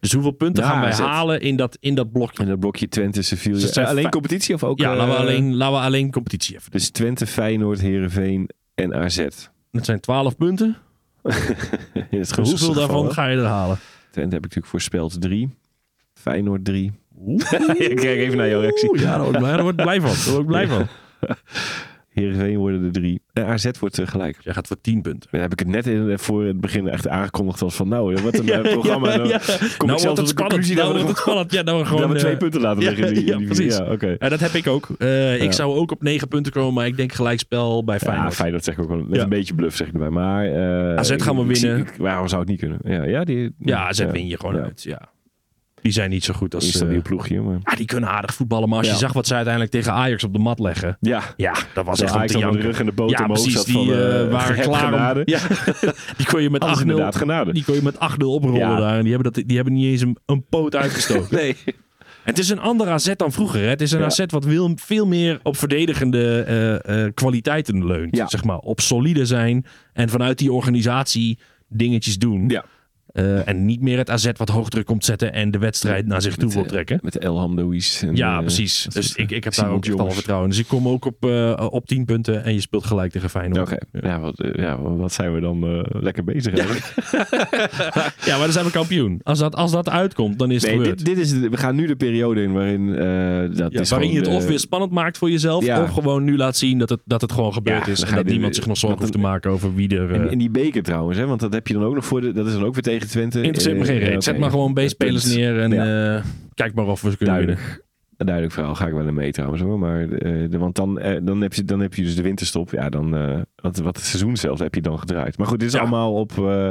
Speaker 1: Dus hoeveel punten
Speaker 5: Na
Speaker 1: gaan wij
Speaker 5: AZ?
Speaker 1: halen in dat, in dat blokje?
Speaker 5: En dat blokje Twente, Sevilla.
Speaker 1: Dus het zijn
Speaker 5: Eh, alleen
Speaker 1: vijf-
Speaker 5: competitie of ook?
Speaker 1: ja,
Speaker 5: eh,
Speaker 1: laten, we alleen, laten we alleen competitie even doen.
Speaker 5: Dus Twente, Feyenoord, Heerenveen en AZ.
Speaker 1: Het zijn 12 punten. dus
Speaker 5: In het gunstigste
Speaker 1: Hoeveel
Speaker 5: geval,
Speaker 1: daarvan
Speaker 5: hè.
Speaker 1: ga je er halen?
Speaker 5: Twente heb ik natuurlijk voorspeld 3. Feyenoord 3. <laughs> ik kijk even naar jouw reactie.
Speaker 1: Oeh, ja, daar word ik blij- daar word ik blij van. Daar word ik blij van.
Speaker 5: Heerenveen worden er 3. En AZ wordt eh, gelijk.
Speaker 1: Jij gaat voor 10 punten.
Speaker 5: Dan heb ik het net in, voor het begin echt aangekondigd als van nou, wat een eh, programma.
Speaker 1: <laughs>
Speaker 5: Dan
Speaker 1: ja.
Speaker 5: kom
Speaker 1: nou
Speaker 5: ik zelf
Speaker 1: wordt het
Speaker 5: tot de
Speaker 1: spannend.
Speaker 5: conclusie
Speaker 1: Nou
Speaker 5: dat we,
Speaker 1: wordt het
Speaker 5: gewoon,
Speaker 1: spannend. <laughs> Ja, nou we gewoon...
Speaker 5: dat we twee
Speaker 1: eh,
Speaker 5: punten laten liggen. in die,
Speaker 1: <laughs> ja,
Speaker 5: in die-
Speaker 1: precies.
Speaker 5: Ja, oké.
Speaker 1: Ja, dat heb ik ook. Eh, Ik
Speaker 5: Ja.
Speaker 1: zou ook op 9 punten komen, maar ik denk gelijkspel bij
Speaker 5: Ja,
Speaker 1: Feyenoord.
Speaker 5: Feyenoord zeg ik ook wel. Met
Speaker 1: Ja.
Speaker 5: een beetje bluff zeg ik erbij. Maar, eh,
Speaker 1: AZ gaan we
Speaker 5: ik zie-
Speaker 1: winnen.
Speaker 5: ik- waarom zou het niet kunnen? Ja, ja, die,
Speaker 1: ja, AZ win je gewoon
Speaker 5: ja.
Speaker 1: uit. Ja. Die zijn niet zo goed
Speaker 5: Dat
Speaker 1: als...
Speaker 5: is
Speaker 1: eh,
Speaker 5: een nieuw ploegje. Maar...
Speaker 1: ja, die kunnen aardig voetballen, maar als je
Speaker 5: Ja.
Speaker 1: zag wat ze uiteindelijk tegen Ajax op de mat leggen...
Speaker 5: Ja,
Speaker 1: Ja, dat was
Speaker 5: als
Speaker 1: echt om te
Speaker 5: Ajax aan de
Speaker 1: janken.
Speaker 5: rug en de boot
Speaker 1: Ja,
Speaker 5: omhoog
Speaker 1: precies.
Speaker 5: zat
Speaker 1: Die
Speaker 5: van,
Speaker 1: eh,
Speaker 5: eh,
Speaker 1: waren
Speaker 5: heb
Speaker 1: klaar om,
Speaker 5: genade.
Speaker 1: ja, <laughs> Die kon je met
Speaker 5: Alles
Speaker 1: 8-0...
Speaker 5: inderdaad genade.
Speaker 1: Die kon je met 8-0 oprollen
Speaker 5: Ja.
Speaker 1: daar. En die hebben, dat, die hebben niet eens een, een poot uitgestoken.
Speaker 5: <laughs> Nee.
Speaker 1: Het is een ander AZ dan vroeger. Hè? Het is een
Speaker 5: Ja.
Speaker 1: AZ wat wil- veel meer op verdedigende eh, eh, kwaliteiten leunt.
Speaker 5: Ja.
Speaker 1: Zeg maar. Op solide zijn en vanuit die organisatie dingetjes doen.
Speaker 5: Ja.
Speaker 1: Eh, en niet meer het AZ wat hoog druk komt zetten en de wedstrijd naar zich toe wil trekken.
Speaker 5: Met eh, Elham Louis. en,
Speaker 1: Ja,
Speaker 5: eh,
Speaker 1: precies.
Speaker 5: dat
Speaker 1: Dus
Speaker 5: soort,
Speaker 1: ik, ik heb
Speaker 5: Simon
Speaker 1: daar ook echt al
Speaker 5: Jongens.
Speaker 1: vertrouwen in. Dus ik kom ook op, eh, op 10 punten en je speelt gelijk tegen Feyenoord.
Speaker 5: Oké, ja, wat, eh, ja, wat zijn we dan eh, lekker
Speaker 1: <laughs>
Speaker 5: bezig eigenlijk.
Speaker 1: Ja, maar dan zijn we kampioen. Als dat, als dat uitkomt, dan is het
Speaker 5: Nee,
Speaker 1: gebeurd.
Speaker 5: dit, dit is, de- we gaan nu de periode in waarin... eh, dat
Speaker 1: Ja,
Speaker 5: is
Speaker 1: waarin je het
Speaker 5: gewoon
Speaker 1: of
Speaker 5: de-
Speaker 1: weer spannend maakt voor jezelf,
Speaker 5: Ja.
Speaker 1: of gewoon nu laat zien dat het, dat het gewoon gebeurd
Speaker 5: Ja,
Speaker 1: is.
Speaker 5: dan
Speaker 1: En
Speaker 5: ga je
Speaker 1: dat
Speaker 5: de-
Speaker 1: niemand zich nog zorgen
Speaker 5: dat
Speaker 1: hoeft te maken over wie er... eh,
Speaker 5: In, in die beker trouwens, hè? want dat heb je dan ook nog voor de... Dat is dan ook weer tegen Twinte.
Speaker 1: Interesseert me
Speaker 5: Eh,
Speaker 1: geen reet.
Speaker 5: ja, oké.
Speaker 1: Zet maar gewoon B-spelers
Speaker 5: Punt.
Speaker 1: neer en
Speaker 5: Ja.
Speaker 1: eh, kijk maar of we ze kunnen winnen.
Speaker 5: Duidelijk. Een duidelijk verhaal ga ik wel in mee trouwens hoor. Maar, eh, de, want dan, eh, dan, heb je, dan heb je dus de winterstop. Ja, dan, eh, wat, wat het seizoen zelf heb je dan gedraaid. Maar goed, dit is
Speaker 1: Ja.
Speaker 5: allemaal op eh,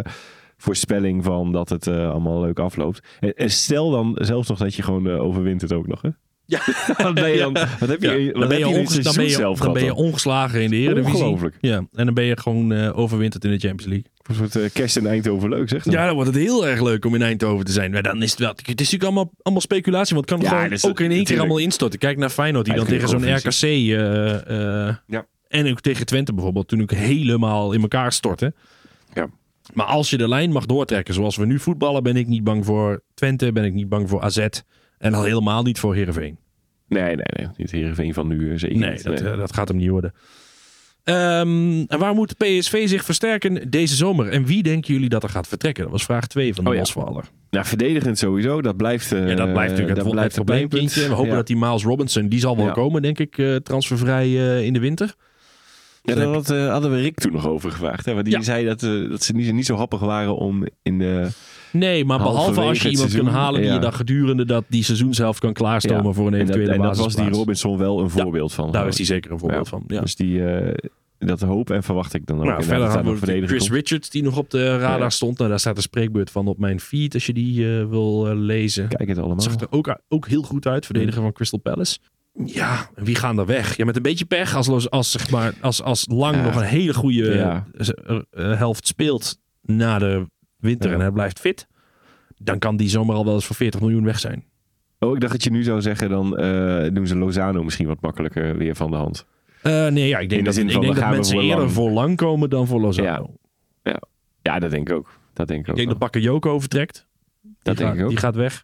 Speaker 5: voorspelling van dat het eh, allemaal leuk afloopt. En, en stel dan zelfs nog dat je gewoon eh, overwintert ook nog. Hè?
Speaker 1: Ja.
Speaker 5: <laughs> Dan ben je, dan, wat heb je,
Speaker 1: Ja,
Speaker 5: wat
Speaker 1: dan ben
Speaker 5: heb
Speaker 1: je,
Speaker 5: je in het
Speaker 1: onges- dan ben
Speaker 5: seizoen
Speaker 1: je-
Speaker 5: zelf
Speaker 1: dan
Speaker 5: gehad
Speaker 1: ben je
Speaker 5: dan?
Speaker 1: ongeslagen in de Eredivisie.
Speaker 5: Ongelooflijk.
Speaker 1: Ja, en dan ben je gewoon eh, overwinterd in de Champions League.
Speaker 5: Een soort eh, kerst in Eindhoven leuk, zeg. dan.
Speaker 1: Ja, dan wordt het heel erg leuk om in Eindhoven te zijn. Maar dan is het wel. Het is natuurlijk allemaal, allemaal speculatie, want het kan
Speaker 5: Ja,
Speaker 1: gewoon
Speaker 5: dus
Speaker 1: ook in
Speaker 5: dat-
Speaker 1: één keer
Speaker 5: natuurlijk.
Speaker 1: allemaal instorten. Kijk naar Feyenoord, die dan tegen
Speaker 5: Eigenlijk
Speaker 1: zo'n
Speaker 5: gewoon
Speaker 1: RKC eh, eh,
Speaker 5: Ja.
Speaker 1: en ook tegen Twente bijvoorbeeld, toen ik helemaal in elkaar stortte.
Speaker 5: Ja.
Speaker 1: Maar als je de lijn mag doortrekken, zoals we nu voetballen, ben ik niet bang voor Twente, ben ik niet bang voor AZ en al helemaal niet voor Heerenveen.
Speaker 5: Nee, nee, nee. Dit Heerenveen van nu eh, zeker
Speaker 1: Nee,
Speaker 5: niet.
Speaker 1: dat, eh, dat gaat hem niet worden. Ehm, en waar moet PSV zich versterken deze zomer? En wie denken jullie dat er gaat vertrekken? Dat was vraag 2 van de
Speaker 5: Oh ja.
Speaker 1: Bosvaller.
Speaker 5: Nou, verdedigend sowieso. Dat blijft, eh,
Speaker 1: Ja, dat blijft natuurlijk het,
Speaker 5: dat
Speaker 1: het
Speaker 5: blijft het
Speaker 1: probleempunt.
Speaker 5: probleempunt.
Speaker 1: We hopen
Speaker 5: Ja.
Speaker 1: dat die Miles Robinson, die zal wel
Speaker 5: Ja.
Speaker 1: komen, denk ik, eh, transfervrij eh, in de winter.
Speaker 5: Ja,
Speaker 1: Dan
Speaker 5: daar had, eh, hadden we Rick toen nog over gevraagd. Hè? Want die
Speaker 1: Ja.
Speaker 5: zei dat, eh, dat ze niet, niet zo happig waren om in de...
Speaker 1: Nee, maar behalve
Speaker 5: Halverwege
Speaker 1: als je
Speaker 5: het
Speaker 1: iemand kan
Speaker 5: seizoen,
Speaker 1: halen die
Speaker 5: ja.
Speaker 1: je dan gedurende dat die seizoen zelf kan klaarstomen
Speaker 5: Ja.
Speaker 1: voor een
Speaker 5: en dat,
Speaker 1: eventuele
Speaker 5: en dat was
Speaker 1: basisplaats.
Speaker 5: die Robinson wel een
Speaker 1: Ja,
Speaker 5: voorbeeld van.
Speaker 1: Daar is hij zeker een voorbeeld
Speaker 5: Ja.
Speaker 1: van. Ja.
Speaker 5: Dus die, eh, dat hoop en verwacht ik dan ook.
Speaker 1: nou,
Speaker 5: inderdaad
Speaker 1: verder
Speaker 5: dat daar
Speaker 1: hadden we
Speaker 5: nog
Speaker 1: natuurlijk
Speaker 5: verdediger
Speaker 1: Chris
Speaker 5: komt.
Speaker 1: Richards die nog op de radar
Speaker 5: Ja.
Speaker 1: stond. Nou, daar staat een spreekbeurt van op mijn feed als je die eh, wil eh, lezen.
Speaker 5: Kijk het allemaal.
Speaker 1: Dat zag er ook, ook heel goed uit, verdediger van Crystal Palace. Ja, en wie gaan er weg? Ja, met een beetje pech. Als, Los- als, zeg maar, als, als Lang
Speaker 5: Ja.
Speaker 1: nog een hele goede
Speaker 5: Ja.
Speaker 1: eh, z- eh, eh, helft speelt na de winter
Speaker 5: Ja.
Speaker 1: en hij blijft fit. Dan kan die zomaar al wel eens voor 40 miljoen weg zijn.
Speaker 5: Oh, ik dacht dat je nu zou zeggen, dan eh, doen ze Lozano misschien wat makkelijker weer van de hand.
Speaker 1: Eh, nee, ja, ik
Speaker 5: In
Speaker 1: denk
Speaker 5: de
Speaker 1: dat,
Speaker 5: zin
Speaker 1: ik
Speaker 5: van,
Speaker 1: denk
Speaker 5: we
Speaker 1: dat
Speaker 5: gaan
Speaker 1: mensen
Speaker 5: voor
Speaker 1: eerder
Speaker 5: Lang.
Speaker 1: voor Lang komen dan voor Lozano.
Speaker 5: Ja, Ja, dat denk ik ook. Dat denk ik ook.
Speaker 1: Ik denk dat
Speaker 5: wel.
Speaker 1: Bakker Joko vertrekt. Die
Speaker 5: Dat denk
Speaker 1: gaat-
Speaker 5: ik ook.
Speaker 1: Die gaat weg.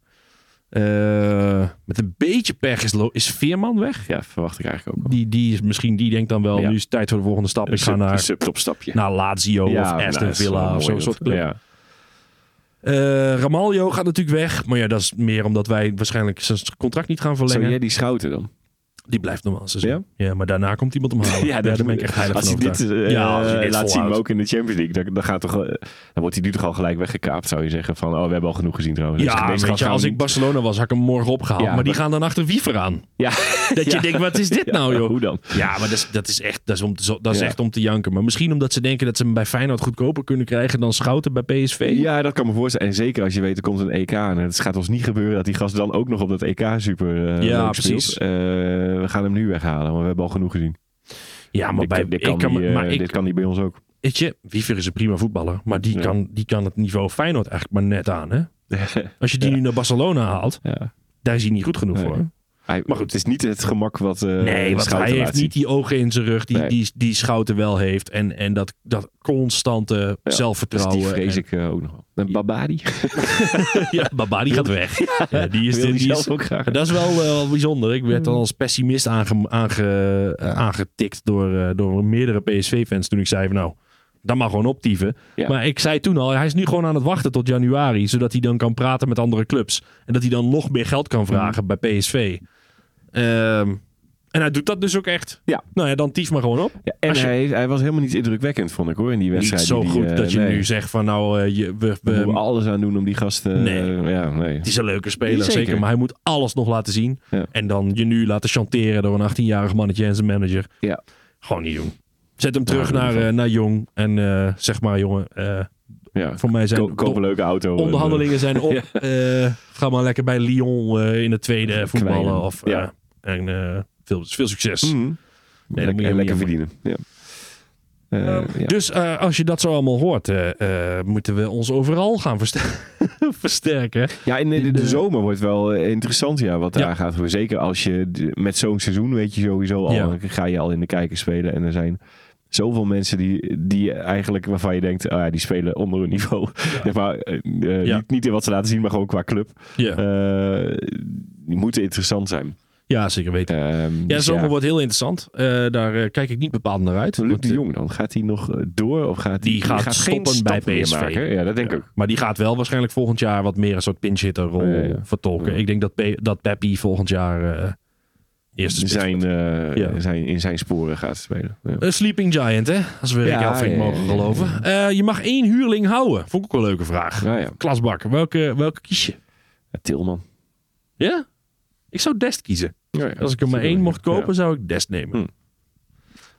Speaker 1: Eh, met een beetje pech is, Lo- is Veerman weg.
Speaker 5: Ja, verwacht ik eigenlijk ook wel.
Speaker 1: Die, die is misschien, die denkt dan wel,
Speaker 5: Ja.
Speaker 1: nu is het tijd voor de volgende stap. Ik
Speaker 5: Een
Speaker 1: ga
Speaker 5: sub-
Speaker 1: naar
Speaker 5: een subtopstapje.
Speaker 1: naar Lazio
Speaker 5: Ja,
Speaker 1: of Aston
Speaker 5: nou, dat is wel
Speaker 1: Villa of
Speaker 5: mooi
Speaker 1: zo'n
Speaker 5: dat-
Speaker 1: soort club.
Speaker 5: Ja.
Speaker 1: Eh, Ramaljo gaat natuurlijk weg. Maar ja, dat is meer omdat wij waarschijnlijk zijn contract niet gaan
Speaker 5: Zou
Speaker 1: verlengen.
Speaker 5: jij die schouten dan?
Speaker 1: Die blijft normaal een seizoen. Ja? maar daarna komt iemand
Speaker 5: <laughs>
Speaker 1: omhalen. ja, daar ben ik echt heilig
Speaker 5: Als
Speaker 1: van
Speaker 5: hij dit,
Speaker 1: overtuigd.
Speaker 5: eh,
Speaker 1: Ja, als hij dit
Speaker 5: laat zien,
Speaker 1: volhoudt.
Speaker 5: maar ook in de Champions League, dan, dan, gaat toch, eh, dan wordt hij nu toch al gelijk weggekaapt, zou je zeggen. Van, oh, we hebben al genoeg gezien trouwens. Dus
Speaker 1: Ja,
Speaker 5: deze
Speaker 1: weet
Speaker 5: gast
Speaker 1: je,
Speaker 5: gaan
Speaker 1: als
Speaker 5: we
Speaker 1: ik
Speaker 5: niet-
Speaker 1: Barcelona was, had ik hem morgen opgehaald.
Speaker 5: Ja,
Speaker 1: maar die
Speaker 5: maar-
Speaker 1: gaan dan achter Wiever aan.
Speaker 5: Ja.
Speaker 1: <laughs> Dat je
Speaker 5: Ja.
Speaker 1: denkt, wat is dit nou,
Speaker 5: <laughs> Ja,
Speaker 1: joh?
Speaker 5: Hoe dan?
Speaker 1: Ja, maar dat is, dat is, echt, dat is, om te, zo- dat is
Speaker 5: Ja.
Speaker 1: echt om te janken. Maar misschien omdat ze denken dat ze hem bij Feyenoord goedkoper kunnen krijgen dan Schouten bij PSV.
Speaker 5: Ja, dat kan me voorstellen. En zeker als je weet, er komt een EK. En het gaat ons niet gebeuren dat die gast dan ook nog op dat EK super eh,
Speaker 1: Ja,
Speaker 5: leuk speelt.
Speaker 1: precies.
Speaker 5: Eh, we gaan hem nu weghalen, want we hebben al genoeg gezien.
Speaker 1: Ja, maar
Speaker 5: dit,
Speaker 1: bij,
Speaker 5: dit,
Speaker 1: ik
Speaker 5: kan
Speaker 1: kan
Speaker 5: die,
Speaker 1: me-
Speaker 5: eh,
Speaker 1: maar ik-
Speaker 5: dit kan die bij ons ook.
Speaker 1: Weet je, Wiever is een prima voetballer. Maar die,
Speaker 5: Ja.
Speaker 1: kan, die kan het niveau Feyenoord eigenlijk maar net
Speaker 5: <laughs>
Speaker 1: aan. Hè? Als je die nu naar Barcelona haalt,
Speaker 5: Ja.
Speaker 1: daar is hij niet goed genoeg
Speaker 5: Nee.
Speaker 1: voor.
Speaker 5: Hij,
Speaker 1: Maar
Speaker 5: maar
Speaker 1: goed.
Speaker 5: goed, het is niet het gemak wat eh
Speaker 1: Nee, want
Speaker 5: Schouten
Speaker 1: hij
Speaker 5: laat
Speaker 1: heeft
Speaker 5: zien.
Speaker 1: niet die ogen in zijn rug die,
Speaker 5: Nee.
Speaker 1: die, die Schouten wel heeft. En, en dat, dat constante
Speaker 5: Ja, Dus
Speaker 1: zelfvertrouwen.
Speaker 5: die vrees
Speaker 1: en-
Speaker 5: ik eh, ook nog wel. En Babadi.
Speaker 1: ja, Baba, die
Speaker 5: <laughs>
Speaker 1: gaat weg. Ja, die is,
Speaker 5: Wil
Speaker 1: die
Speaker 5: die
Speaker 1: is,
Speaker 5: zelf ook graag.
Speaker 1: dat is wel, eh, wel bijzonder. Ik werd dan als pessimist aange, aange- eh, aangetikt door, eh, door meerdere PSV-fans toen ik zei van nou, dan maar gewoon optieven.
Speaker 5: Ja.
Speaker 1: Maar ik zei toen al, hij is nu gewoon aan het wachten tot januari, zodat hij dan kan praten met andere clubs. En dat hij dan nog meer geld kan vragen
Speaker 5: Mm.
Speaker 1: bij PSV. Ehm, en hij doet dat dus ook echt.
Speaker 5: Ja.
Speaker 1: Nou ja, dan tief maar gewoon op.
Speaker 5: Ja, en
Speaker 1: Als je-
Speaker 5: hij, heeft- hij was helemaal niet indrukwekkend, vond ik hoor, in die
Speaker 1: Niet
Speaker 5: wedstrijd.
Speaker 1: zo
Speaker 5: die,
Speaker 1: goed
Speaker 5: eh,
Speaker 1: dat je
Speaker 5: nee.
Speaker 1: nu zegt van nou, eh, je, we,
Speaker 5: We moeten
Speaker 1: we,
Speaker 5: alles aan doen om die gasten...
Speaker 1: Nee.
Speaker 5: eh, ja, nee.
Speaker 1: Het is een leuke speler, zeker.
Speaker 5: Zeker.
Speaker 1: Maar hij moet alles nog laten zien.
Speaker 5: Ja.
Speaker 1: En dan je nu laten chanteren door een 18-jarig mannetje en zijn manager.
Speaker 5: Ja.
Speaker 1: Gewoon niet doen. Zet hem terug
Speaker 5: in
Speaker 1: naar,
Speaker 5: ieder
Speaker 1: eh, naar Jong. En eh, zeg maar, jongen, eh,
Speaker 5: Ja.
Speaker 1: voor mij zijn
Speaker 5: Ko- Koop een leuke auto. eh,
Speaker 1: onderhandelingen zijn
Speaker 5: <laughs>
Speaker 1: op. Eh, ga maar lekker bij Lyon eh, in de tweede voetballen.
Speaker 5: Kwijnen.
Speaker 1: Of, eh,
Speaker 5: Ja.
Speaker 1: en eh, veel, veel succes.
Speaker 5: En, eh, mhm.
Speaker 1: Nee, dat moet
Speaker 5: Lek-
Speaker 1: je
Speaker 5: en lekker
Speaker 1: niet
Speaker 5: verdienen. Ja. Eh, ja.
Speaker 1: Dus eh, als je dat zo allemaal hoort, eh, eh, moeten we ons overal gaan verster- <laughs> versterken.
Speaker 5: Ja, in de, de
Speaker 1: de-
Speaker 5: zomer wordt wel eh, interessant ja, wat daar
Speaker 1: Ja.
Speaker 5: gaat gebeuren. Zeker als je d- met zo'n seizoen weet je sowieso al,
Speaker 1: Ja.
Speaker 5: dan ga je al in de kijker spelen. En er zijn zoveel mensen die, die eigenlijk, waarvan je denkt, ah, ja, die spelen onder hun niveau. Zeg <laughs> maar, eh, eh,
Speaker 1: Ja.
Speaker 5: niet, niet in wat ze laten zien, maar gewoon qua club.
Speaker 1: Ja,
Speaker 5: Eh, die moeten interessant zijn.
Speaker 1: ja zeker weten.
Speaker 5: Ehm,
Speaker 1: Ja,
Speaker 5: dus
Speaker 1: zomer
Speaker 5: ja.
Speaker 1: wordt heel interessant. Eh, daar eh, kijk ik niet bepaald naar uit.
Speaker 5: Luc
Speaker 1: Want,
Speaker 5: de
Speaker 1: eh,
Speaker 5: Jong dan, gaat hij nog eh, door of gaat
Speaker 1: Die
Speaker 5: hij
Speaker 1: gaat stoppen bij
Speaker 5: stap meer
Speaker 1: PSV.
Speaker 5: maken? Ja, dat denk ik ook.
Speaker 1: Maar die gaat wel waarschijnlijk volgend jaar wat meer een soort pinch-hitter-rol
Speaker 5: Ja, ja.
Speaker 1: vertolken.
Speaker 5: Ja.
Speaker 1: Ik denk dat, Pe dat Peppi volgend jaar eh, eerste spits
Speaker 5: Zijn,
Speaker 1: wordt.
Speaker 5: eh,
Speaker 1: Ja.
Speaker 5: zijn, in zijn sporen gaat spelen. Ja.
Speaker 1: Een sleeping giant, hè? Als we Rick
Speaker 5: Ja,
Speaker 1: Elfrink
Speaker 5: ja, ja,
Speaker 1: mogen
Speaker 5: ja,
Speaker 1: geloven. Eh, je mag één huurling houden. Vond ik ook een leuke vraag.
Speaker 5: Nou ja,
Speaker 1: Klasbak, welke, welke kies je?
Speaker 5: Tilman.
Speaker 1: Ja? Ik zou Dest kiezen.
Speaker 5: Ja, ja.
Speaker 1: Als ik er maar één mocht kopen,
Speaker 5: Ja.
Speaker 1: zou ik Dest nemen.
Speaker 5: Hm.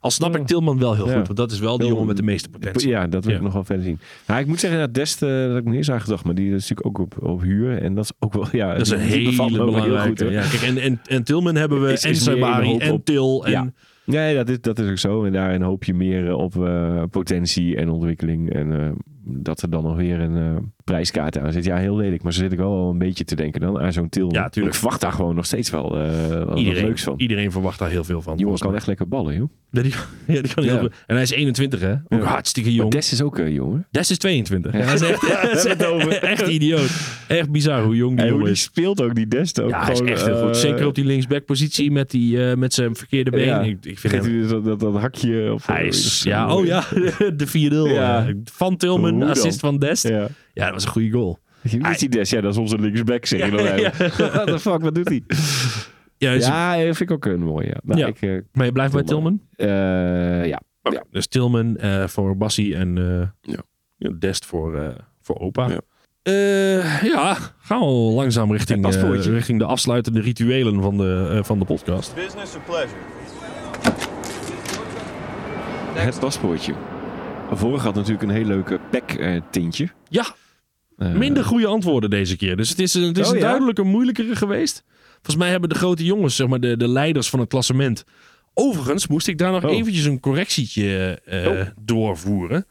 Speaker 1: Al snap ik Tilman wel heel
Speaker 5: Ja.
Speaker 1: goed, want dat is wel de
Speaker 5: Heel-
Speaker 1: jongen met de meeste potentie.
Speaker 5: Ja, dat wil
Speaker 1: Ja.
Speaker 5: ik nog wel verder zien. Nou, ik moet zeggen dat Dest, eh, dat had ik me eerst aan gedacht, maar die is natuurlijk ook op, op huur. En dat is ook wel, ja,
Speaker 1: Dat is een hele belangrijke.
Speaker 5: ja.
Speaker 1: ja. Kijk, en, en, en Tilman hebben we,
Speaker 5: Is-
Speaker 1: en
Speaker 5: is meer een
Speaker 1: Sabari,
Speaker 5: hoop
Speaker 1: en
Speaker 5: op-
Speaker 1: Til. En,
Speaker 5: Ja. Nee, dat is, dat is ook zo. En daarin hoop je meer eh, op eh, potentie en ontwikkeling. En eh, dat er dan nog weer een eh, prijskaart aan zit. Ja, heel lelijk. Maar zo zit ik wel al een beetje te denken dan aan zo'n til.
Speaker 1: Ja, tuurlijk.
Speaker 5: Ik verwacht daar gewoon nog steeds wel eh, wel wat
Speaker 1: iedereen,
Speaker 5: leuks van.
Speaker 1: iedereen verwacht daar heel veel van.
Speaker 5: Die jongen
Speaker 1: volgens
Speaker 5: kan echt lekker ballen, joh.
Speaker 1: Ja, die, <laughs> ja, die kan heel
Speaker 5: Ja.
Speaker 1: goed. En hij is 21, hè? Ook hartstikke
Speaker 5: Maar
Speaker 1: jong.
Speaker 5: Des is ook een jongen.
Speaker 1: Des is 22. Ja, dat is
Speaker 5: <laughs>
Speaker 1: echt, <laughs> dat is <laughs> echt idioot. Echt bizar hoe jong die
Speaker 5: En
Speaker 1: jongen
Speaker 5: hoe die eh,
Speaker 1: is.
Speaker 5: speelt ook, die Des ook.
Speaker 1: Ja, hij is echt heel goed. Zeker op die linksbackpositie met, die, eh, met zijn verkeerde been. Ik, ik vind hem...
Speaker 5: dus dat, dat, dat hakje. Op, eh,
Speaker 1: Hij is... Ja, oh ja, <laughs> de 4-0.
Speaker 5: Ja.
Speaker 1: eh, Van Tilman,
Speaker 5: Hoe dan?
Speaker 1: assist van Dest. Ja.
Speaker 5: Ja.
Speaker 1: dat was een goede goal.
Speaker 5: Wie is die Des? Ja, dat is onze linksback, zeg je dan
Speaker 1: Ja,
Speaker 5: eigenlijk. <laughs> What the fuck, wat doet hij?
Speaker 1: Ja, dus-
Speaker 5: Ja, eh, vind ik ook een mooie. Ja. Nou,
Speaker 1: Ja.
Speaker 5: Ik, eh,
Speaker 1: Maar je blijft bij
Speaker 5: Tilman.
Speaker 1: Tilman?
Speaker 5: eh, ja.
Speaker 1: Dus Tilman eh, voor Bassi en eh,
Speaker 5: Ja.
Speaker 1: ja, Dest voor, eh, voor Opa.
Speaker 5: Ja.
Speaker 1: Ja. ja, gaan we al langzaam richting,
Speaker 5: Het
Speaker 1: eh,
Speaker 5: paspoortje.
Speaker 1: richting de afsluitende rituelen van de, eh, van de podcast.
Speaker 6: Business or pleasure?
Speaker 5: Het paspoortje. Vorige had natuurlijk een heel leuke pack-tintje. Eh,
Speaker 1: Ja, minder goede antwoorden deze keer. Dus het is, een- het is
Speaker 5: Oh,
Speaker 1: een
Speaker 5: ja?
Speaker 1: duidelijker moeilijkere geweest. Volgens mij hebben de grote jongens, zeg maar de, de leiders van het klassement. Overigens moest ik daar nog
Speaker 5: Oh.
Speaker 1: eventjes een correctietje eh, doorvoeren.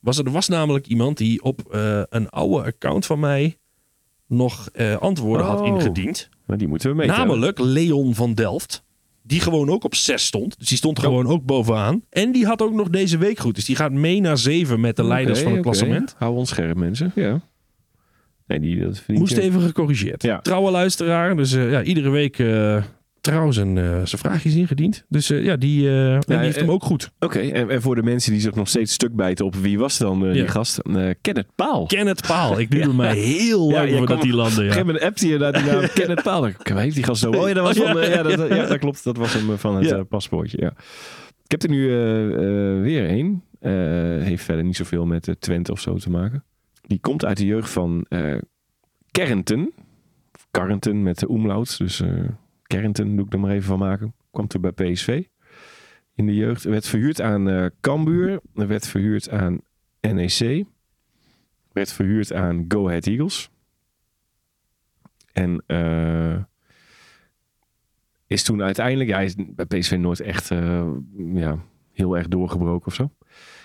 Speaker 1: Was er, er was namelijk iemand die op eh, een oude account van mij nog eh, antwoorden had
Speaker 5: Oh.
Speaker 1: ingediend.
Speaker 5: Maar die moeten we mee.
Speaker 1: Namelijk Leon van Delft. Die gewoon ook op 6 stond. Dus die stond gewoon ook bovenaan. En die had ook nog deze week goed. Dus die gaat mee naar 7 met de leiders van het klassement.
Speaker 5: Hou ons scherp, mensen. Ja. Nee, die, dat eh, verdient
Speaker 1: Moest even gecorrigeerd.
Speaker 5: Ja.
Speaker 1: Trouwe luisteraar. Dus eh, ja, iedere week eh trouw zijn, eh, zijn vraagjes ingediend. Dus eh, ja, die, eh, en die heeft
Speaker 5: eh,
Speaker 1: hem ook goed.
Speaker 5: Oké, en, en voor de mensen die zich nog steeds stuk bijten op wie was dan eh, die
Speaker 1: Ja.
Speaker 5: gast? Eh Kenneth Paal.
Speaker 1: Kenneth Paal.
Speaker 5: <laughs>
Speaker 1: Ik duurde mij heel lang
Speaker 5: jij
Speaker 1: voordat
Speaker 5: kwam-
Speaker 1: die landde.
Speaker 5: Op een
Speaker 1: Ja.
Speaker 5: gegeven moment appte je naar die <laughs> naam Kenneth Paal. Ik, Waar heeft die gast nou? Oh ja, dat was van... eh, ja, dat, <laughs> ja, dat klopt. Dat was hem eh, van het
Speaker 1: Ja.
Speaker 5: eh, paspoortje, ja. Ik heb er nu eh, eh, weer één. Eh, heeft verder niet zoveel met eh, Twente of zo te maken. Die komt uit de jeugd van eh Kernten. Of Karrenten met de omlaut. Dus eh Kernten doe ik er maar even van maken. Kwam toen bij PSV. In de jeugd. Werd verhuurd aan eh Cambuur. Werd verhuurd aan NEC. Werd verhuurd aan Go Ahead Eagles. En eh, is toen uiteindelijk, ja, hij is bij PSV nooit echt eh, ja, heel erg doorgebroken of zo.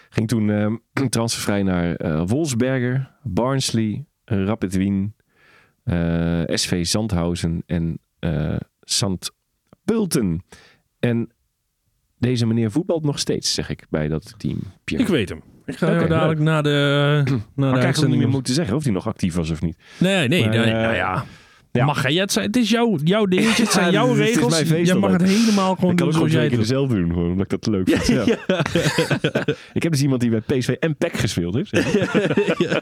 Speaker 5: Ging toen eh, <clears throat> transfervrij naar eh Wolfsberger, Barnsley, Rapid Wien, eh, SV Zandhausen en eh Sant Pulten. En deze meneer voetbalt nog steeds, zeg ik, bij dat team. Pierre.
Speaker 1: Ik weet hem. Ik ga
Speaker 5: Oké,
Speaker 1: jou dadelijk na
Speaker 5: <clears throat>
Speaker 1: de, na
Speaker 5: maar
Speaker 1: de
Speaker 5: ik eigenlijk niet
Speaker 1: uitzending...
Speaker 5: meer moeten zeggen of hij nog actief was of niet.
Speaker 1: Nee, nee.
Speaker 5: Maar,
Speaker 1: nee,
Speaker 5: eh,
Speaker 1: nou ja.
Speaker 5: ja.
Speaker 1: Mag jij het zijn? Het is jouw, jouw dingetje. Het zijn
Speaker 5: <laughs> Ja,
Speaker 1: jouw
Speaker 5: dit is- dit is
Speaker 1: regels.
Speaker 5: mijn feest
Speaker 1: Jij mag
Speaker 5: altijd.
Speaker 1: het helemaal gewoon
Speaker 5: Ik kan
Speaker 1: doen
Speaker 5: ook gewoon
Speaker 1: zoals jij
Speaker 5: twee keer
Speaker 1: het doet.
Speaker 5: dezelfde doen, gewoon, omdat ik dat leuk vind. <laughs> Ja. ik heb dus iemand die bij PSV en PEC gespeeld heeft. Eh, ja.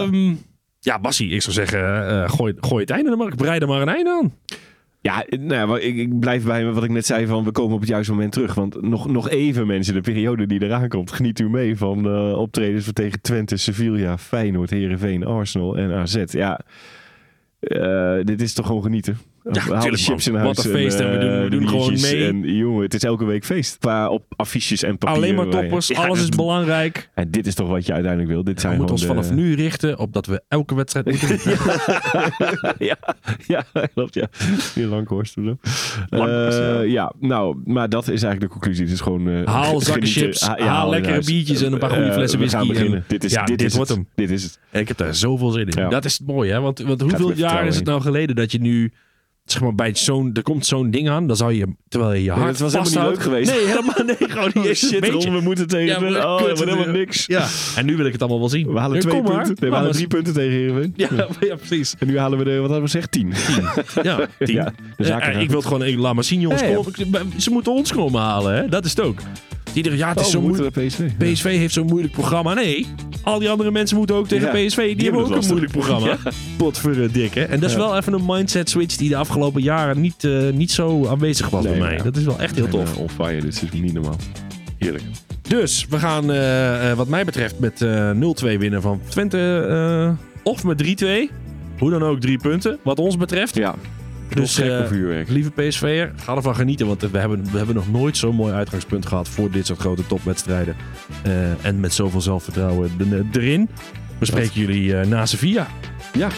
Speaker 1: Ehm, ja, Bassie, ik zou zeggen, eh, gooi, gooi het einde er maar. Breid er maar een einde aan.
Speaker 5: Ja, nou ja, maar ik, ik blijf bij wat ik net zei van we komen op het juiste moment terug. Want nog, nog even mensen, de periode die eraan komt, geniet u mee van eh, optredens van tegen Twente, Sevilla, Feyenoord, Herenveen, Arsenal en AZ. Ja, eh, dit is toch gewoon genieten. Ja,
Speaker 1: tuurlijk,
Speaker 5: chips in
Speaker 1: man.
Speaker 5: huis.
Speaker 1: Wat een feest en we doen- we
Speaker 5: eh,
Speaker 1: doen
Speaker 5: de
Speaker 1: gewoon
Speaker 5: biertjes
Speaker 1: mee.
Speaker 5: En jongen, het is elke week feest. Qua op affiches en papier.
Speaker 1: Alleen maar
Speaker 5: waar je-
Speaker 1: toppers,
Speaker 5: Ja,
Speaker 1: alles is
Speaker 5: dat-
Speaker 1: belangrijk.
Speaker 5: En dit is toch wat je uiteindelijk wil. Dit zijn
Speaker 1: We moeten ons
Speaker 5: gewoon
Speaker 1: vanaf
Speaker 5: de-
Speaker 1: nu richten op dat we elke wedstrijd moeten winnen.
Speaker 5: ja, <laughs> ja, klopt. Ja. Die Lankhorst toen ook.
Speaker 1: Lankhorst,
Speaker 5: Eh,
Speaker 1: ja.
Speaker 5: ja. nou, maar dat is eigenlijk de conclusie. Het is gewoon. eh,
Speaker 1: Haal zakken
Speaker 5: genieten.
Speaker 1: chips,
Speaker 5: Ha- ja,
Speaker 1: haal
Speaker 5: haal
Speaker 1: lekkere
Speaker 5: in huis.
Speaker 1: biertjes en een paar goede
Speaker 5: Eh,
Speaker 1: flessen
Speaker 5: we gaan
Speaker 1: whisky en-
Speaker 5: beginnen. dit is,
Speaker 1: Ja,
Speaker 5: dit
Speaker 1: dit
Speaker 5: is
Speaker 1: wordt
Speaker 5: het.
Speaker 1: hem.
Speaker 5: Dit is het.
Speaker 1: En <laughs> ik heb daar zoveel zin in.
Speaker 5: Ja.
Speaker 1: Dat is het mooie, hè? Want, want hoeveel jaar
Speaker 5: met vertrouwen
Speaker 1: is het nou geleden dat je nu... Zeg maar, bij zo'n, er komt zo'n ding aan, dan zou je, terwijl je je hart
Speaker 5: dat was helemaal niet
Speaker 1: vasthoudt-
Speaker 5: leuk geweest. Oh,
Speaker 1: Nee, helemaal
Speaker 5: <laughs>
Speaker 1: nee. Gewoon die
Speaker 5: Shit,
Speaker 1: Oh, shit
Speaker 5: Ron, we moeten tegen.
Speaker 1: Ja,
Speaker 5: de-
Speaker 1: maar dat
Speaker 5: oh, dat
Speaker 1: kut,
Speaker 5: wordt helemaal
Speaker 1: natuurlijk.
Speaker 5: niks.
Speaker 1: Ja, en nu wil ik het allemaal wel zien.
Speaker 5: We halen
Speaker 1: Ja,
Speaker 5: twee
Speaker 1: kom maar.
Speaker 5: punten. Nee, we halen
Speaker 1: Alles.
Speaker 5: drie punten tegen Heerenveen.
Speaker 1: Ja, ja,
Speaker 5: <laughs>
Speaker 1: precies.
Speaker 5: En nu halen we de, wat hadden we gezegd? Tien. Oh,
Speaker 1: Ja, tien.
Speaker 5: Ja, de
Speaker 1: Eh,
Speaker 5: zaken
Speaker 1: eh,
Speaker 5: gaan
Speaker 1: ik wil het gewoon, eh, laat maar zien jongens.
Speaker 5: Ja, ja.
Speaker 1: Kom, Ze moeten ons komen halen, hè? Dat is het ook. Iedereen, ja, het is
Speaker 5: Oh,
Speaker 1: zo
Speaker 5: we
Speaker 1: moeilijk.
Speaker 5: moeten naar PSV. Ja.
Speaker 1: PSV heeft zo'n moeilijk programma. Nee, al die andere mensen moeten ook tegen
Speaker 5: Ja,
Speaker 1: PSV. Die,
Speaker 5: die
Speaker 1: hebben ook
Speaker 5: hebben
Speaker 1: een moeilijk
Speaker 5: het
Speaker 1: programma. <laughs> Potverdikke. En dat is wel even een mindset switch die de afgelopen jaren niet, eh, niet zo aanwezig was
Speaker 5: Nee,
Speaker 1: bij mij.
Speaker 5: ja.
Speaker 1: Dat is wel echt heel
Speaker 5: En,
Speaker 1: tof.
Speaker 5: eh, on fire, dit is niet normaal. Heerlijk.
Speaker 1: Dus we gaan, eh, eh, wat mij betreft, met eh, 0-2 winnen van Twente. eh, of met 3-2. Hoe dan ook, drie punten. Wat ons betreft.
Speaker 5: Ja,
Speaker 1: Dus
Speaker 5: gek
Speaker 1: eh,
Speaker 5: op vuurwerk.
Speaker 1: lieve PSV'er, ga ervan genieten. Want we hebben, we hebben nog nooit zo'n mooi uitgangspunt gehad voor dit soort grote topwedstrijden. Eh, en met zoveel zelfvertrouwen er- erin. We spreken jullie eh, na Sevilla.
Speaker 5: Ja,